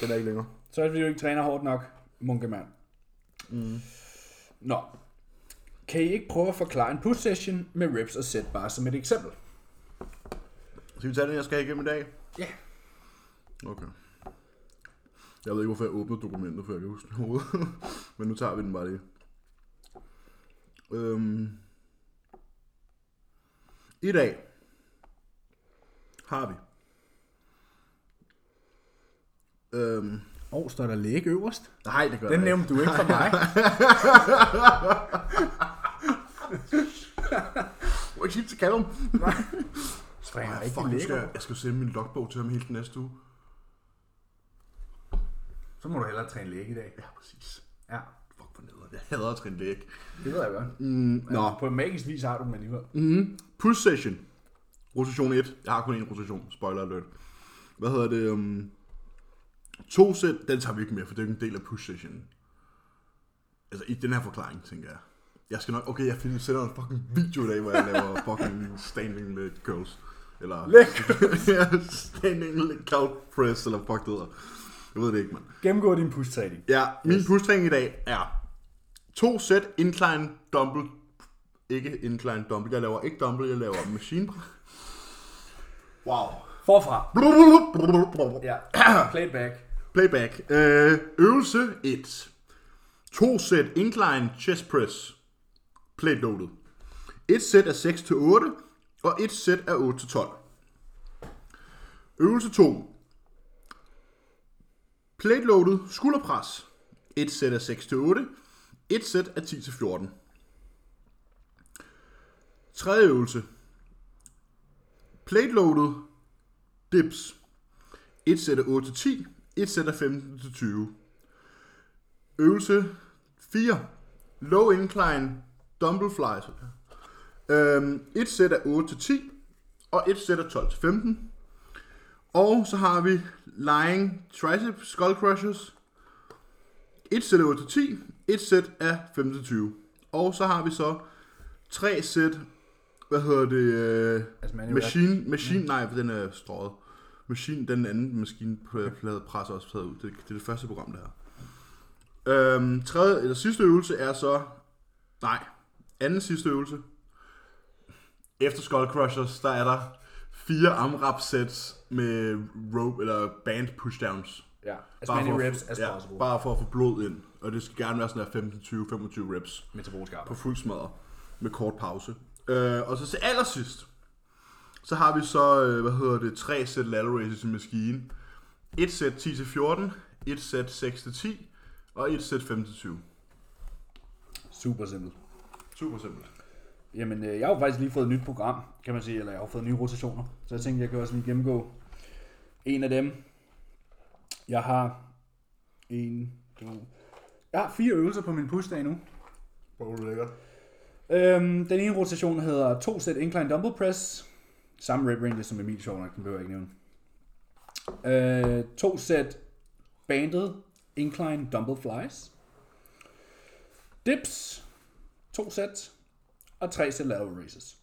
[SPEAKER 3] den er ikke længere.
[SPEAKER 1] Så er det, fordi du ikke træner hårdt nok, munkemand. Nå. Kan I ikke prøve at forklare en push session med reps og set bare som et eksempel?
[SPEAKER 3] Skal vi tage den, jeg skal igennem i dag?
[SPEAKER 1] Ja.
[SPEAKER 3] Okay. Jeg ved ikke, hvorfor jeg åbnede dokumentet, før jeg kan huske det overhovedet. Men nu tager vi den bare lige. Øhm. I dag har vi øhm.
[SPEAKER 1] Og oh, står der læge øverst?
[SPEAKER 3] Nej, det gør
[SPEAKER 1] Den
[SPEAKER 3] jeg ikke.
[SPEAKER 1] nævnte du ikke for mig.
[SPEAKER 3] Du må ikke sige det til Callum.
[SPEAKER 1] Springer
[SPEAKER 3] Ej,
[SPEAKER 1] rigtig
[SPEAKER 3] fuck, nu
[SPEAKER 1] læge
[SPEAKER 3] skal jeg,
[SPEAKER 1] over.
[SPEAKER 3] jeg skal sende min logbog til ham hele den næste uge.
[SPEAKER 1] Så må du hellere træne læge i dag.
[SPEAKER 3] Ja, præcis.
[SPEAKER 1] Ja,
[SPEAKER 3] Fuck for nederen. Jeg hader at træne læg.
[SPEAKER 1] det ved jeg godt.
[SPEAKER 3] Mm, nå,
[SPEAKER 1] På magisk vis har du dem alligevel.
[SPEAKER 3] Push Session. Rotation 1. Jeg har kun én rotation. Spoiler alert. Hvad hedder det? Um, to sæt. Den tager vi ikke med, for det er jo ikke en del af Push Session. Altså i den her forklaring, tænker jeg. Jeg skal nok... Okay, jeg finder, sender en fucking video i dag, hvor jeg laver fucking standing leg curls. Eller...
[SPEAKER 1] Leg
[SPEAKER 3] curls. standing leg curl press, eller fuck det hedder. Jeg ved det ikke, mand.
[SPEAKER 1] Gennemgå din push-træning.
[SPEAKER 3] Ja, min yes. push-træning i dag er to sæt incline dumbbell. Ikke incline dumbbell. Jeg laver ikke dumbbell, jeg laver machine. Wow.
[SPEAKER 1] Forfra. Ja. Playback.
[SPEAKER 3] Playback. Øh, øvelse 1. To sæt incline chest press. Plate loaded. Et sæt er 6-8, og et sæt er 8-12. Øvelse 2. Plate loaded skulderpres. Et sæt er 6-8, et sæt er 10-14. Tredje øvelse. Plate loaded dips. Et sæt er 8 til 10, et sæt er 15 til 20. Øvelse 4. Low incline dumbbell flies. Øhm, et sæt er 8 til 10, og et sæt er 12 til 15. Og så har vi lying tricep skull crushers. Et sæt er 8 til 10, et sæt er 15 til 20. Og så har vi så tre sæt, hvad hedder det, øh,
[SPEAKER 1] Altså, man er jo Mm.
[SPEAKER 3] machine, machine, nej, for den er strøget. Machine, den anden maskinplade presser også taget ud. Det, det er det første program, det her. Øhm, tredje, eller sidste øvelse er så... Nej, anden sidste øvelse. Efter Skull Crushers, der er der fire AMRAP sets med rope eller band pushdowns.
[SPEAKER 1] Ja. As many
[SPEAKER 3] for at-
[SPEAKER 1] reps as possible.
[SPEAKER 3] bare for at få blod ind. Og det skal gerne være sådan her 15-20-25 reps
[SPEAKER 1] Metabolsk
[SPEAKER 3] på
[SPEAKER 1] arbejde.
[SPEAKER 3] fuld smadre med kort pause. Øh, og så til allersidst, så har vi så, øh, hvad hedder det, tre sæt lateral raises i maskinen. Et sæt 10-14, et sæt 6-10 og et sæt 5-20.
[SPEAKER 1] Super simpelt.
[SPEAKER 3] Super simpelt.
[SPEAKER 1] Jamen, øh, jeg har jo faktisk lige fået et nyt program, kan man sige, eller jeg har fået nye rotationer, så jeg tænkte, jeg kan også lige gennemgå en af dem. Jeg har en, to, jeg har fire øvelser på min pushdag nu.
[SPEAKER 3] Hvor er det lækkert.
[SPEAKER 1] Øhm, den ene rotation hedder to sæt incline dumbbell press, samme rep range som Emil Sjov nok, den behøver jeg ikke nævne. Øh, to sæt banded incline dumbbell flies, dips, to sæt, og tre sæt lateral raises.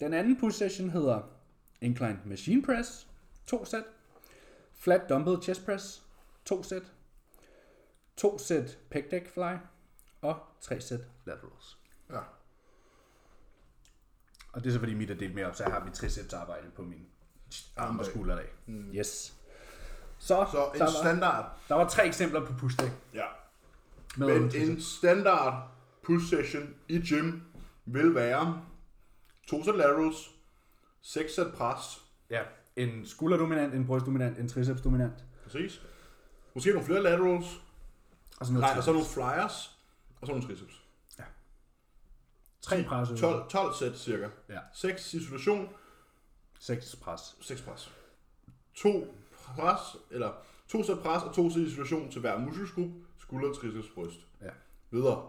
[SPEAKER 1] Den anden push session hedder incline machine press, to sæt, flat dumbbell chest press, to sæt, to sæt pec deck fly, og tre sæt laterals.
[SPEAKER 3] Ja.
[SPEAKER 1] Og det er så fordi mit er delt mere op, så jeg har mit triceps arbejde på min arm og skulderdag. Mm. Yes. Så,
[SPEAKER 3] Så en
[SPEAKER 1] der, var,
[SPEAKER 3] standard.
[SPEAKER 1] der var tre eksempler på push day.
[SPEAKER 3] Ja.
[SPEAKER 1] Med
[SPEAKER 3] Men
[SPEAKER 1] øvelser.
[SPEAKER 3] en standard push session i gym vil være to sæt laterals, seks sæt pres,
[SPEAKER 1] ja, en skulderdominant, en brystdominant, en tricepsdominant.
[SPEAKER 3] præcis. Måske nogle flere laterals,
[SPEAKER 1] Og sådan noget
[SPEAKER 3] Nej, og så nogle flyers, og så nogle triceps.
[SPEAKER 1] tre pres.
[SPEAKER 3] 12, 12 sæt cirka.
[SPEAKER 1] Ja.
[SPEAKER 3] 6 isolation,
[SPEAKER 1] Seks pres.
[SPEAKER 3] 6 pres. 2 pres, eller 2 sæt pres og 2 sæt isolation til hver muskelgruppe, skulder, triceps, bryst.
[SPEAKER 1] Ja.
[SPEAKER 3] Videre.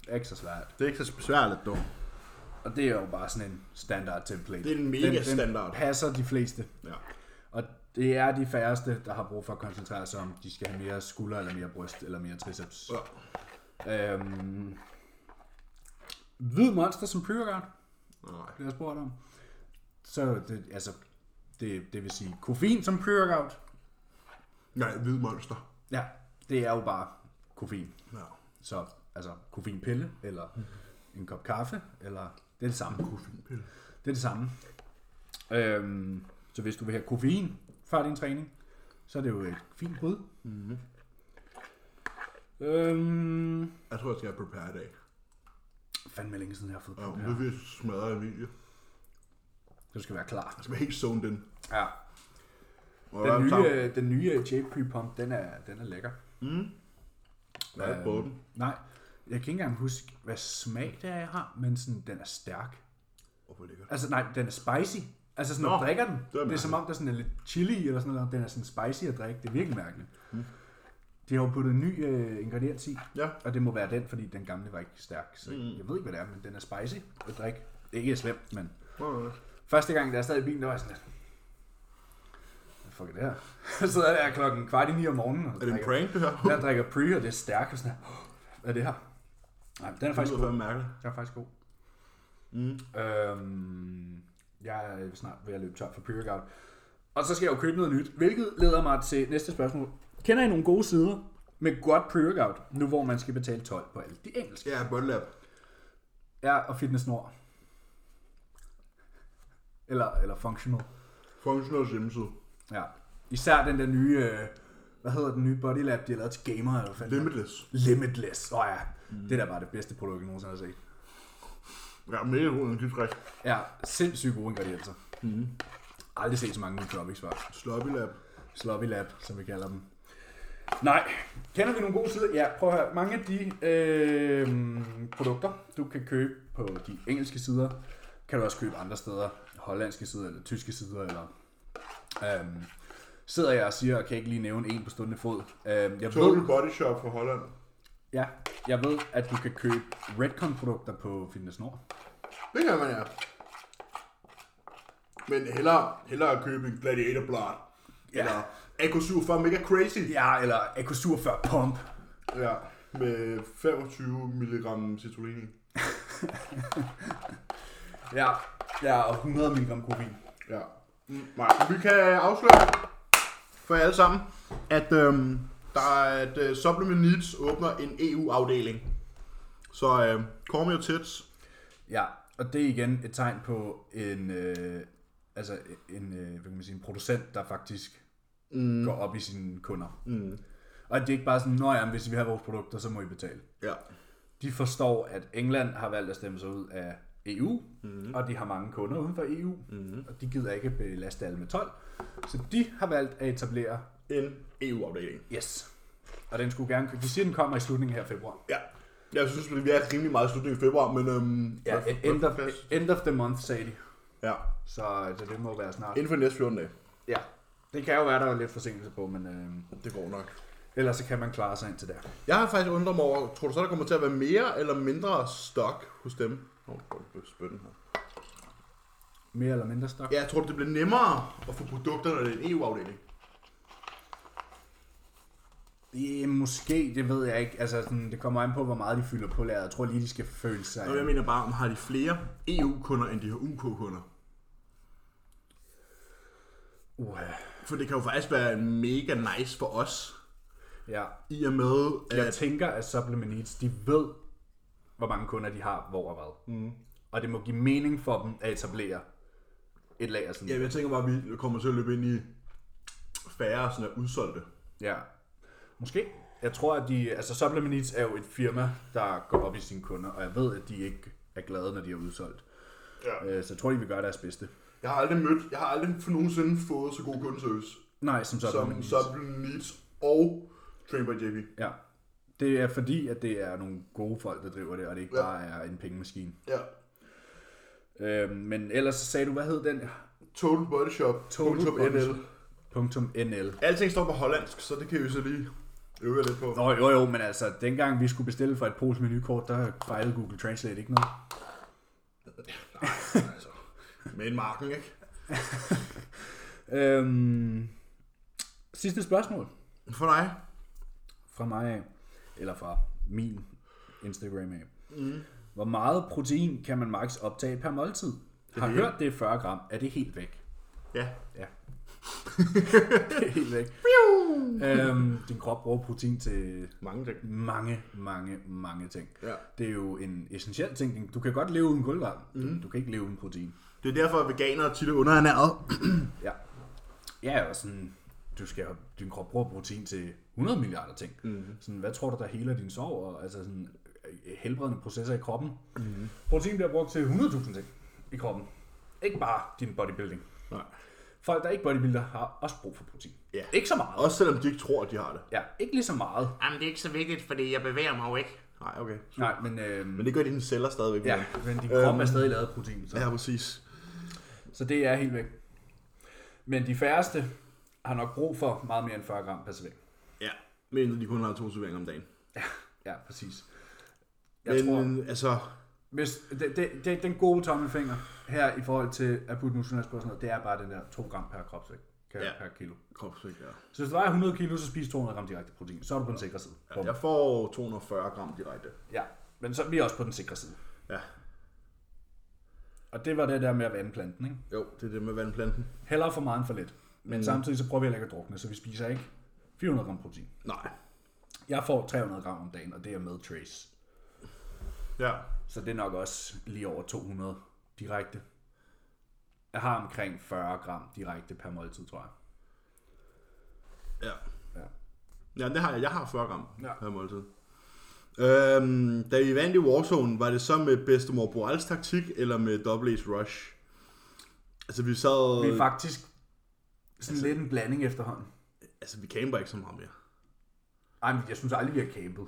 [SPEAKER 1] Det er Ikke så svært.
[SPEAKER 3] Det er ikke så besværligt dog.
[SPEAKER 1] Og det er jo bare sådan en standard template.
[SPEAKER 3] Det er en mega
[SPEAKER 1] den,
[SPEAKER 3] standard.
[SPEAKER 1] Den passer de fleste.
[SPEAKER 3] Ja.
[SPEAKER 1] Og det er de færreste, der har brug for at koncentrere sig om, de skal have mere skulder, eller mere bryst, eller mere triceps.
[SPEAKER 3] ja.
[SPEAKER 1] Øhm, hvid monster som pre-workout,
[SPEAKER 3] Nej.
[SPEAKER 1] bliver jeg spurgt om. Så det, altså, det, det vil sige koffein som pre-workout.
[SPEAKER 3] Nej, hvid monster.
[SPEAKER 1] Ja, det er jo bare koffein.
[SPEAKER 3] Ja.
[SPEAKER 1] Så altså koffeinpille, eller en kop kaffe, eller det er det samme. Koffeinpille. Det er det samme. Øhm, så hvis du vil have koffein før din træning, så er det jo et fint bud. Mm-hmm. Øhm,
[SPEAKER 3] Jeg tror, jeg skal have prepare i dag.
[SPEAKER 1] fandme længe siden jeg har fået
[SPEAKER 3] Ja,
[SPEAKER 1] på
[SPEAKER 3] ja. Det vil smadre en video.
[SPEAKER 1] Du skal være klar.
[SPEAKER 3] Jeg skal være helt zoned in.
[SPEAKER 1] Ja.
[SPEAKER 3] Og
[SPEAKER 1] Den nye, øh, den nye Jape Pre-Pump, den er, den er lækker. Øhm,
[SPEAKER 3] Jeg har ikke prøvet den.
[SPEAKER 1] Nej, jeg kan ikke engang huske, hvad smag det er, jeg har, men sådan, den er stærk.
[SPEAKER 3] Åh, hvor lækkert.
[SPEAKER 1] Altså nej, den er spicy. Altså sådan, når
[SPEAKER 3] Nå,
[SPEAKER 1] du drikker den,
[SPEAKER 3] det er
[SPEAKER 1] det er, det er
[SPEAKER 3] mærkeligt.
[SPEAKER 1] som om, der sådan er lidt chili eller sådan noget. Den er sådan spicy at drikke. Det er virkelig mærkeligt. De har jo puttet en ny øh, ingrediens i,
[SPEAKER 3] Ja.
[SPEAKER 1] og det må være den, fordi den gamle var ikke stærk. Så mm. jeg ved ikke, hvad det er, men den er spicy at drikke. Ikke er slemt, men første gang, da jeg sad i bilen, der var jeg sådan lidt, hvad fuck er det her? Så sidder jeg der klokken kvart i ni om morgenen. Og
[SPEAKER 3] Er det en
[SPEAKER 1] drikker-
[SPEAKER 3] prank, det her?
[SPEAKER 1] Jeg drikker pre, og det er stærkt, og sådan her. Hvad er det her? Nej, den er
[SPEAKER 3] Det
[SPEAKER 1] faktisk
[SPEAKER 3] lyder
[SPEAKER 1] god.
[SPEAKER 3] fandme mærkeligt.
[SPEAKER 1] Den er faktisk god. Mm. Øhm, jeg er snart ved at løbe tør for pre-workout. Og så skal jeg jo købe noget nyt, hvilket leder mig til næste spørgsmål. Kender I nogle gode sider med godt pre-workout, nu hvor man skal betale 12 på alle de engelske?
[SPEAKER 3] Ja, bottle app.
[SPEAKER 1] Ja, og Fitness Nord. Eller, eller Functional.
[SPEAKER 3] Functional hjemmeside.
[SPEAKER 1] Ja. Især den der nye, øh, hvad hedder den nye body lab, de har lavet til gamer, eller hvad fanden?
[SPEAKER 3] Limitless.
[SPEAKER 1] Limitless. Åh oh, ja, mm. det der var det bedste produkt, jeg nogensinde har set.
[SPEAKER 3] Ja, mega god energidrik.
[SPEAKER 1] Ja, sindssygt gode ingredienser. Mm. Aldrig set så mange nye topics før.
[SPEAKER 3] Sloppy lab.
[SPEAKER 1] Sloppy lab, som vi kalder dem. Nej. Kender vi nogle gode sider? Ja, prøv at høre. Mange af de øh, produkter, du kan købe på de engelske sider, kan du også købe andre steder. Hollandske sider, eller tyske sider, eller... Øh, sidder jeg og siger, og kan ikke lige nævne en på stående fod. Øh, jeg ved,
[SPEAKER 3] Total Body Shop fra Holland.
[SPEAKER 1] ja, jeg ved, at du kan købe Redcon-produkter på Fitness Nord.
[SPEAKER 3] Det kan man ja. Men hellere, hellere at købe en Gladiator Blot. Ja. Eller AK47 Mega Crazy.
[SPEAKER 1] Ja, eller AK47 Pump.
[SPEAKER 3] Ja, med 25 mg citrullin. i.
[SPEAKER 1] Ja, ja og 100 mg koffein.
[SPEAKER 3] Ja. Mm, Nej, vi kan afsløre for jer alle sammen, at, øhm, der er, at øh, Supplement Needs åbner en EU-afdeling. Så øh, kom jo tæt.
[SPEAKER 1] Ja, og det er igen et tegn på en, øh, altså en, øh, hvad kan man sige, en producent, der faktisk mm. går op i sine kunder.
[SPEAKER 3] Mm.
[SPEAKER 1] Og det er ikke bare sådan, nå ja, men hvis vi har vores produkter, så må I betale.
[SPEAKER 3] Ja.
[SPEAKER 1] De forstår, at England har valgt at stemme sig ud af EU, mm. og de har mange kunder uden for EU, mm. og de gider ikke belaste alle med 12. Så de har valgt at etablere,
[SPEAKER 3] En E EU-afdeling.
[SPEAKER 1] yes, og den skulle gerne, de siger, den kommer i slutningen her af februar.
[SPEAKER 3] Ja. Jeg synes, vi er rimelig meget i slutningen af februar, men... Øhm,
[SPEAKER 1] Ja,
[SPEAKER 3] hvad-
[SPEAKER 1] end
[SPEAKER 3] hvad-
[SPEAKER 1] of,
[SPEAKER 3] hvad-
[SPEAKER 1] end of the month, sagde de.
[SPEAKER 3] Ja,
[SPEAKER 1] Så, så det må være snart.
[SPEAKER 3] inden for de næste 14 dage.
[SPEAKER 1] Ja, det kan jo være, der er lidt forsinkelse på, men øh,
[SPEAKER 3] Det går nok.
[SPEAKER 1] ellers så kan man klare sig indtil der.
[SPEAKER 3] Jeg har faktisk undret mig over, tror du så, der kommer til at være mere eller mindre stok hos dem? Åh, oh, det er spændende her.
[SPEAKER 1] Mere eller mindre stok.
[SPEAKER 3] Ja, jeg tror, det bliver nemmere at få produkterne i en E EU-afdeling.
[SPEAKER 1] Ja, måske, det ved jeg ikke. Altså, sådan, det kommer an på, hvor meget de fylder på lageret. Jeg tror lige, de skal føle sig...
[SPEAKER 3] Og jeg mener bare, om har de flere EU-kunder, end de har UK-kunder?
[SPEAKER 1] Uha.
[SPEAKER 3] For det kan jo faktisk være mega nice for os,
[SPEAKER 1] Ja.
[SPEAKER 3] i og med,
[SPEAKER 1] Jeg
[SPEAKER 3] at...
[SPEAKER 1] tænker, at Supplement Needs, de ved, hvor mange kunder de har, hvor og hvad. Mm. Og det må give mening for dem at etablere et lager sådan.
[SPEAKER 3] Ja, jeg tænker bare, at vi kommer til at løbe ind i færre sådan der udsolgte.
[SPEAKER 1] Ja. Måske. Jeg tror, at de... Altså, Supplement Needs er jo et firma, der går op i sine kunder, og jeg ved, at de ikke er glade, når de er udsolgt.
[SPEAKER 3] Ja.
[SPEAKER 1] Øh, Så jeg tror, de vil gøre deres bedste.
[SPEAKER 3] Jeg har aldrig mødt, jeg har aldrig for nogensinde fået så god kundeservice,
[SPEAKER 1] Nej, som Supplement
[SPEAKER 3] som
[SPEAKER 1] Needs.
[SPEAKER 3] Supplement Needs og Train by JP.
[SPEAKER 1] Ja. Det er fordi, at det er nogle gode folk, der driver det, og det ikke
[SPEAKER 3] Ja.
[SPEAKER 1] bare er en pengemaskine.
[SPEAKER 3] Ja.
[SPEAKER 1] Øhm, men ellers så sagde du, hvad hed den?
[SPEAKER 3] Total Body Shop. Total
[SPEAKER 1] Body
[SPEAKER 3] NL.
[SPEAKER 1] Shop. Punktum .nl.
[SPEAKER 3] Alting står på hollandsk, så det kan vi så lige øve jer lidt på.
[SPEAKER 1] Nå jo jo, men altså, dengang vi skulle bestille fra et polsk menukort, der fejlede Google Translate ikke noget.
[SPEAKER 3] altså. Med en marken, ikke?
[SPEAKER 1] Øhm, sidste spørgsmål
[SPEAKER 3] For dig.
[SPEAKER 1] fra mig af, eller fra min Instagram af. Mm. Hvor meget protein kan man maks optage per måltid? Har
[SPEAKER 3] det.
[SPEAKER 1] hørt det er 40 gram. Er det helt væk?
[SPEAKER 3] Ja.
[SPEAKER 1] Ja. Det er helt væk. øhm, din krop bruger protein til
[SPEAKER 3] Mange ting.
[SPEAKER 1] mange, mange, mange ting.
[SPEAKER 3] Ja.
[SPEAKER 1] Det er jo en essentiel ting. Du kan godt leve uden kulhydrater. Mm. Du kan ikke leve uden protein.
[SPEAKER 3] Det er derfor, at veganere tit er underernæret.
[SPEAKER 1] Ja. Ja, og sådan, du skal, din krop bruger protein til 100 milliarder ting.
[SPEAKER 3] Mhm.
[SPEAKER 1] Mm. Sådan, hvad tror du, der heler din sorg? Og, altså sådan, øh, helbredende processer i kroppen.
[SPEAKER 3] Mhm.
[SPEAKER 1] Mm. Protein bliver brugt til 100.000 ting i kroppen. Ikke bare din bodybuilding.
[SPEAKER 3] Nej.
[SPEAKER 1] Folk, der ikke bodybuilder, har også brug for protein.
[SPEAKER 3] Ja.
[SPEAKER 1] Ikke så meget.
[SPEAKER 3] Også selvom de ikke tror, at de har det.
[SPEAKER 1] Ja, ikke lige så meget.
[SPEAKER 2] Jamen, det er ikke så vigtigt, fordi jeg bevæger mig jo ikke.
[SPEAKER 3] Nej, okay.
[SPEAKER 1] Nej, men, øh,
[SPEAKER 3] Men det gør dine celler stadigvæk.
[SPEAKER 1] ja,
[SPEAKER 3] men-
[SPEAKER 1] men din krop er stadig lavet af protein. Så.
[SPEAKER 3] ja, præcis.
[SPEAKER 1] Så det er helt væk. Men de færreste har nok brug for meget mere end 40 gram per servering.
[SPEAKER 3] Ja. Men de kun har to serveringer om dagen.
[SPEAKER 1] Ja, præcis. Jeg
[SPEAKER 3] Jeg
[SPEAKER 1] men,
[SPEAKER 3] men
[SPEAKER 1] tror,
[SPEAKER 3] tror... altså,
[SPEAKER 1] hvis, det, det, det, den gode tommelfinger her i forhold til akut muskelmasse og sådan noget, det er bare den der 2 gram per kropsvægt per, ja.
[SPEAKER 3] Ja.
[SPEAKER 1] per kilo.
[SPEAKER 3] kropsvægt, ja.
[SPEAKER 1] Så hvis du vejer 100 kilo, så spiser 200 gram direkte protein. Så er du på den sikre side. Bum.
[SPEAKER 3] Jeg får 240 gram direkte.
[SPEAKER 1] Ja, men så er vi også på den sikre side.
[SPEAKER 3] Ja.
[SPEAKER 1] Og det var det der med at vande planten, ikke?
[SPEAKER 3] Jo, det er det med vandplanten.
[SPEAKER 1] Hellere for meget end for lidt. Men mm. samtidig så prøver vi heller ikke at drukne, så vi spiser ikke 400 gram protein.
[SPEAKER 3] Nej.
[SPEAKER 1] Jeg får 300 gram om dagen, og det er med trace.
[SPEAKER 3] Ja.
[SPEAKER 1] Så det er nok også lige over 200 direkte. Jeg har omkring 40 gram direkte per måltid, tror jeg.
[SPEAKER 3] Ja.
[SPEAKER 1] Ja.
[SPEAKER 3] Ja, det har jeg. Jeg har 40 gram
[SPEAKER 1] Ja.
[SPEAKER 3] ja. per måltid. Øhm, da vi vandt i Warzone, var det så med bedstemor Borals taktik, eller med Double A's Rush? Altså, vi sad...
[SPEAKER 1] Det er faktisk sådan lidt en blanding efterhånden.
[SPEAKER 3] Altså, vi camper ikke så meget mere.
[SPEAKER 1] Ej, men jeg synes aldrig, vi har campet.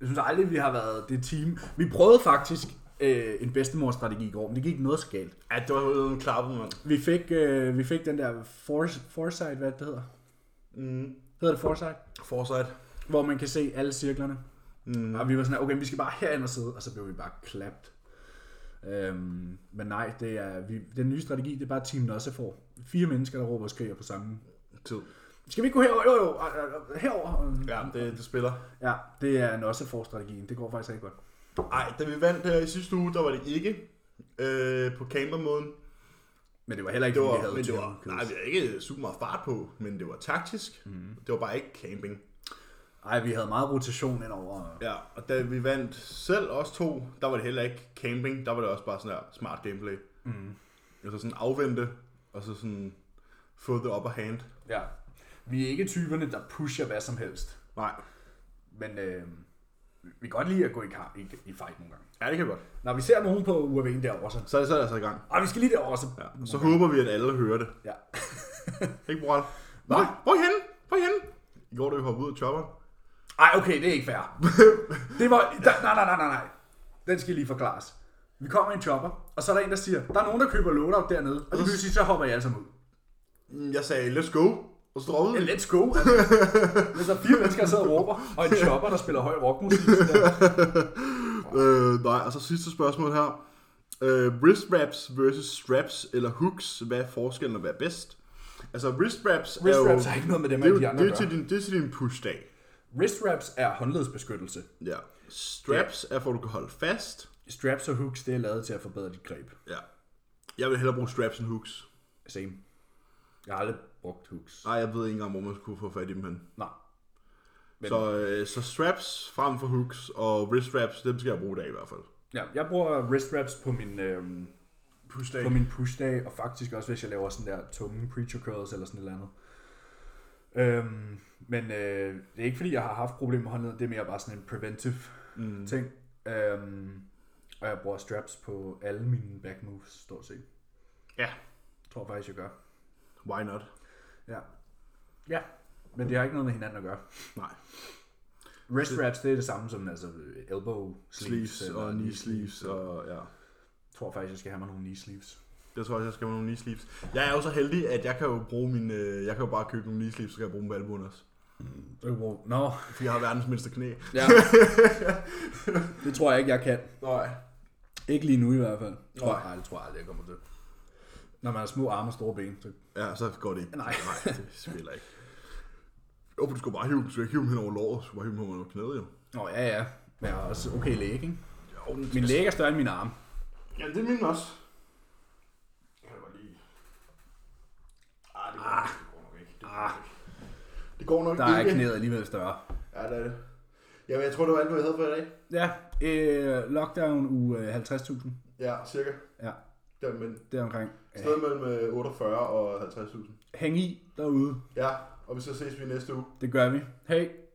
[SPEAKER 1] Jeg synes aldrig, vi har været det team. Vi prøvede faktisk øh, en bedstemorstrategi i går, men det gik noget så galt.
[SPEAKER 3] Ja, det var jo en klappe, mand.
[SPEAKER 1] Vi fik, øh, vi fik den der force, foresight, hvad det hedder.
[SPEAKER 3] Mm.
[SPEAKER 1] Hedder det foresight?
[SPEAKER 3] Fortsat.
[SPEAKER 1] Hvor man kan se alle cirklerne. Mm. Og vi var sådan, okay, vi skal bare herind og sidde, og så blev vi bare klapt. Øhm, men nej, det er, vi, den nye strategi, det er bare Team Nosse får. Fire mennesker, der råber og skriger på samme.
[SPEAKER 3] Tid.
[SPEAKER 1] Skal vi ikke gå herover? Jo, jo, og- og- og- herover. og-
[SPEAKER 3] Ja, det, det spiller.
[SPEAKER 1] Ja, det er Nosse for strategien. Det går faktisk rigtig godt.
[SPEAKER 3] Ej, da vi vandt her i sidste uge, der var det ikke øh, på campermåden.
[SPEAKER 1] Men det var heller ikke,
[SPEAKER 3] Det
[SPEAKER 1] fordi
[SPEAKER 3] var,
[SPEAKER 1] vi havde
[SPEAKER 3] men det
[SPEAKER 1] Team
[SPEAKER 3] var,
[SPEAKER 1] Kids.
[SPEAKER 3] nej, vi havde ikke super meget fart på, men det var taktisk. Mm. Det var bare ikke camping.
[SPEAKER 1] Ej, vi havde meget rotation indover.
[SPEAKER 3] Ja, og da vi vandt selv os to, der var det heller ikke camping, der var det også bare sådan der smart gameplay. Mm. Altså sådan afvente, og så sådan få the upper hand.
[SPEAKER 1] Ja. Vi er ikke typerne, der pusher hvad som helst.
[SPEAKER 3] Nej,
[SPEAKER 1] Men øh, vi kan godt lide at gå i, kar, i, i fight nogle gange.
[SPEAKER 3] ja, det kan godt.
[SPEAKER 1] Når vi ser nogen på UAV'en derovre, så...
[SPEAKER 3] Så er det, så er det altså i gang.
[SPEAKER 1] Ej, vi skal lige derover så...
[SPEAKER 3] Ja. Og så håber vi, at alle hører det.
[SPEAKER 1] ja.
[SPEAKER 3] Ikke, bror? Nej, hvor er I henne? Hvor er I henne? I går, da vi hoppede ud af chopperen.
[SPEAKER 1] Ej, okay, det er ikke fair. Det var... Da, nej, nej, nej, nej, nej. Den skal lige forklares. Vi kommer i en chopper, og så er der en, der siger, der er nogen, der køber loadout dernede, og det pludselig så hopper jeg alle sammen ud.
[SPEAKER 3] Mm, Jeg sagde, let's go. Og så droppede vi.
[SPEAKER 1] Men Let's go. altså. Hvis der er fire mennesker, der sidder og råber, og en chopper, der spiller høj rockmusik, så der,
[SPEAKER 3] Øh, nej, og så sidste spørgsmål her. Øh, wrist wraps versus straps eller hooks, hvad er forskellen og hvad er bedst? Altså wrist wraps er
[SPEAKER 1] wrist
[SPEAKER 3] jo...
[SPEAKER 1] wraps har ikke noget med dem,
[SPEAKER 3] det er,
[SPEAKER 1] alle
[SPEAKER 3] jo,
[SPEAKER 1] de andre
[SPEAKER 3] det, er
[SPEAKER 1] gør.
[SPEAKER 3] til din, det er til din push-dag.
[SPEAKER 1] Wrist wraps er håndledsbeskyttelse.
[SPEAKER 3] Ja. Straps er for, at du kan holde fast.
[SPEAKER 1] Straps og hooks, det er lavet til at forbedre dit greb.
[SPEAKER 3] Ja. Jeg vil hellere bruge straps end hooks.
[SPEAKER 1] Same. Jeg har aldrig brugt hooks.
[SPEAKER 3] Nej, jeg ved ikke engang, hvor man skulle få fat i dem hen.
[SPEAKER 1] Nej. Men-
[SPEAKER 3] Så, øh, så straps frem for hooks, og wrist wraps, dem skal jeg bruge i dag i hvert fald.
[SPEAKER 1] Ja, jeg bruger wrist wraps på min, øhm,
[SPEAKER 3] Push-dag.
[SPEAKER 1] på min pushdag, og faktisk også, hvis jeg laver sådan der tunge preacher curls eller sådan et eller andet. Øhm, men øh, det er ikke, fordi jeg har haft problemer med håndleden, det er mere bare sådan en preventive mm. ting. Øhm, og jeg bruger straps på alle mine back moves, stort set.
[SPEAKER 2] Ja.
[SPEAKER 1] Tror jeg faktisk, jeg gør.
[SPEAKER 3] Why not?
[SPEAKER 1] Ja. Ja. Men det har ikke noget med hinanden at gøre.
[SPEAKER 3] Nej.
[SPEAKER 1] Wrist wraps, det er det samme som altså, elbow sleeves.
[SPEAKER 3] Sleeves og knee sleeves og ja.
[SPEAKER 1] Jeg tror faktisk, jeg skal have mig nogle knee sleeves.
[SPEAKER 3] Jeg tror også, jeg skal have nogle knee sleeves. Jeg er jo så heldig, at jeg kan jo bruge min, øh, jeg kan jo bare købe nogle knee sleeves, så kan jeg bruge dem på albuen også.
[SPEAKER 1] Nå, no.
[SPEAKER 3] Fordi jeg har verdens mindste knæ.
[SPEAKER 1] ja. det tror jeg ikke, jeg kan.
[SPEAKER 3] Nej.
[SPEAKER 1] Ikke lige nu i hvert fald. Tror
[SPEAKER 3] Nej.
[SPEAKER 1] jeg, nej, det tror jeg aldrig, jeg kommer til. Når man har små arme og store ben, så...
[SPEAKER 3] Ja, så går det ikke.
[SPEAKER 1] Nej.
[SPEAKER 3] Nej det spiller ikke. Jo, for du skulle bare hive, du skulle ikke hive dem hen over låret, du skulle bare hive dem hen over knæet, jo.
[SPEAKER 1] Nå, ja, ja. Men jeg har også okay læg, ikke?
[SPEAKER 3] Jo, men
[SPEAKER 1] Min læg er større end min arme.
[SPEAKER 3] Ja, Ah, det er min også. Jeg kan da godt lide.
[SPEAKER 1] Ah,
[SPEAKER 3] Det går nok
[SPEAKER 1] der er
[SPEAKER 3] ikke.
[SPEAKER 1] knæet alligevel større.
[SPEAKER 3] Ja, det er det. Jamen, jeg tror, det var alt, hvad vi havde for i dag.
[SPEAKER 1] Ja, øh, lockdown uge øh, 50.000.
[SPEAKER 3] Ja, cirka.
[SPEAKER 1] Ja,
[SPEAKER 3] Ja, men
[SPEAKER 1] det er omkring. Ja.
[SPEAKER 3] sted mellem øh, 48 og 50.000.
[SPEAKER 1] Hæng i derude.
[SPEAKER 3] Ja, og vi så ses vi næste uge.
[SPEAKER 1] Det gør vi. Hej.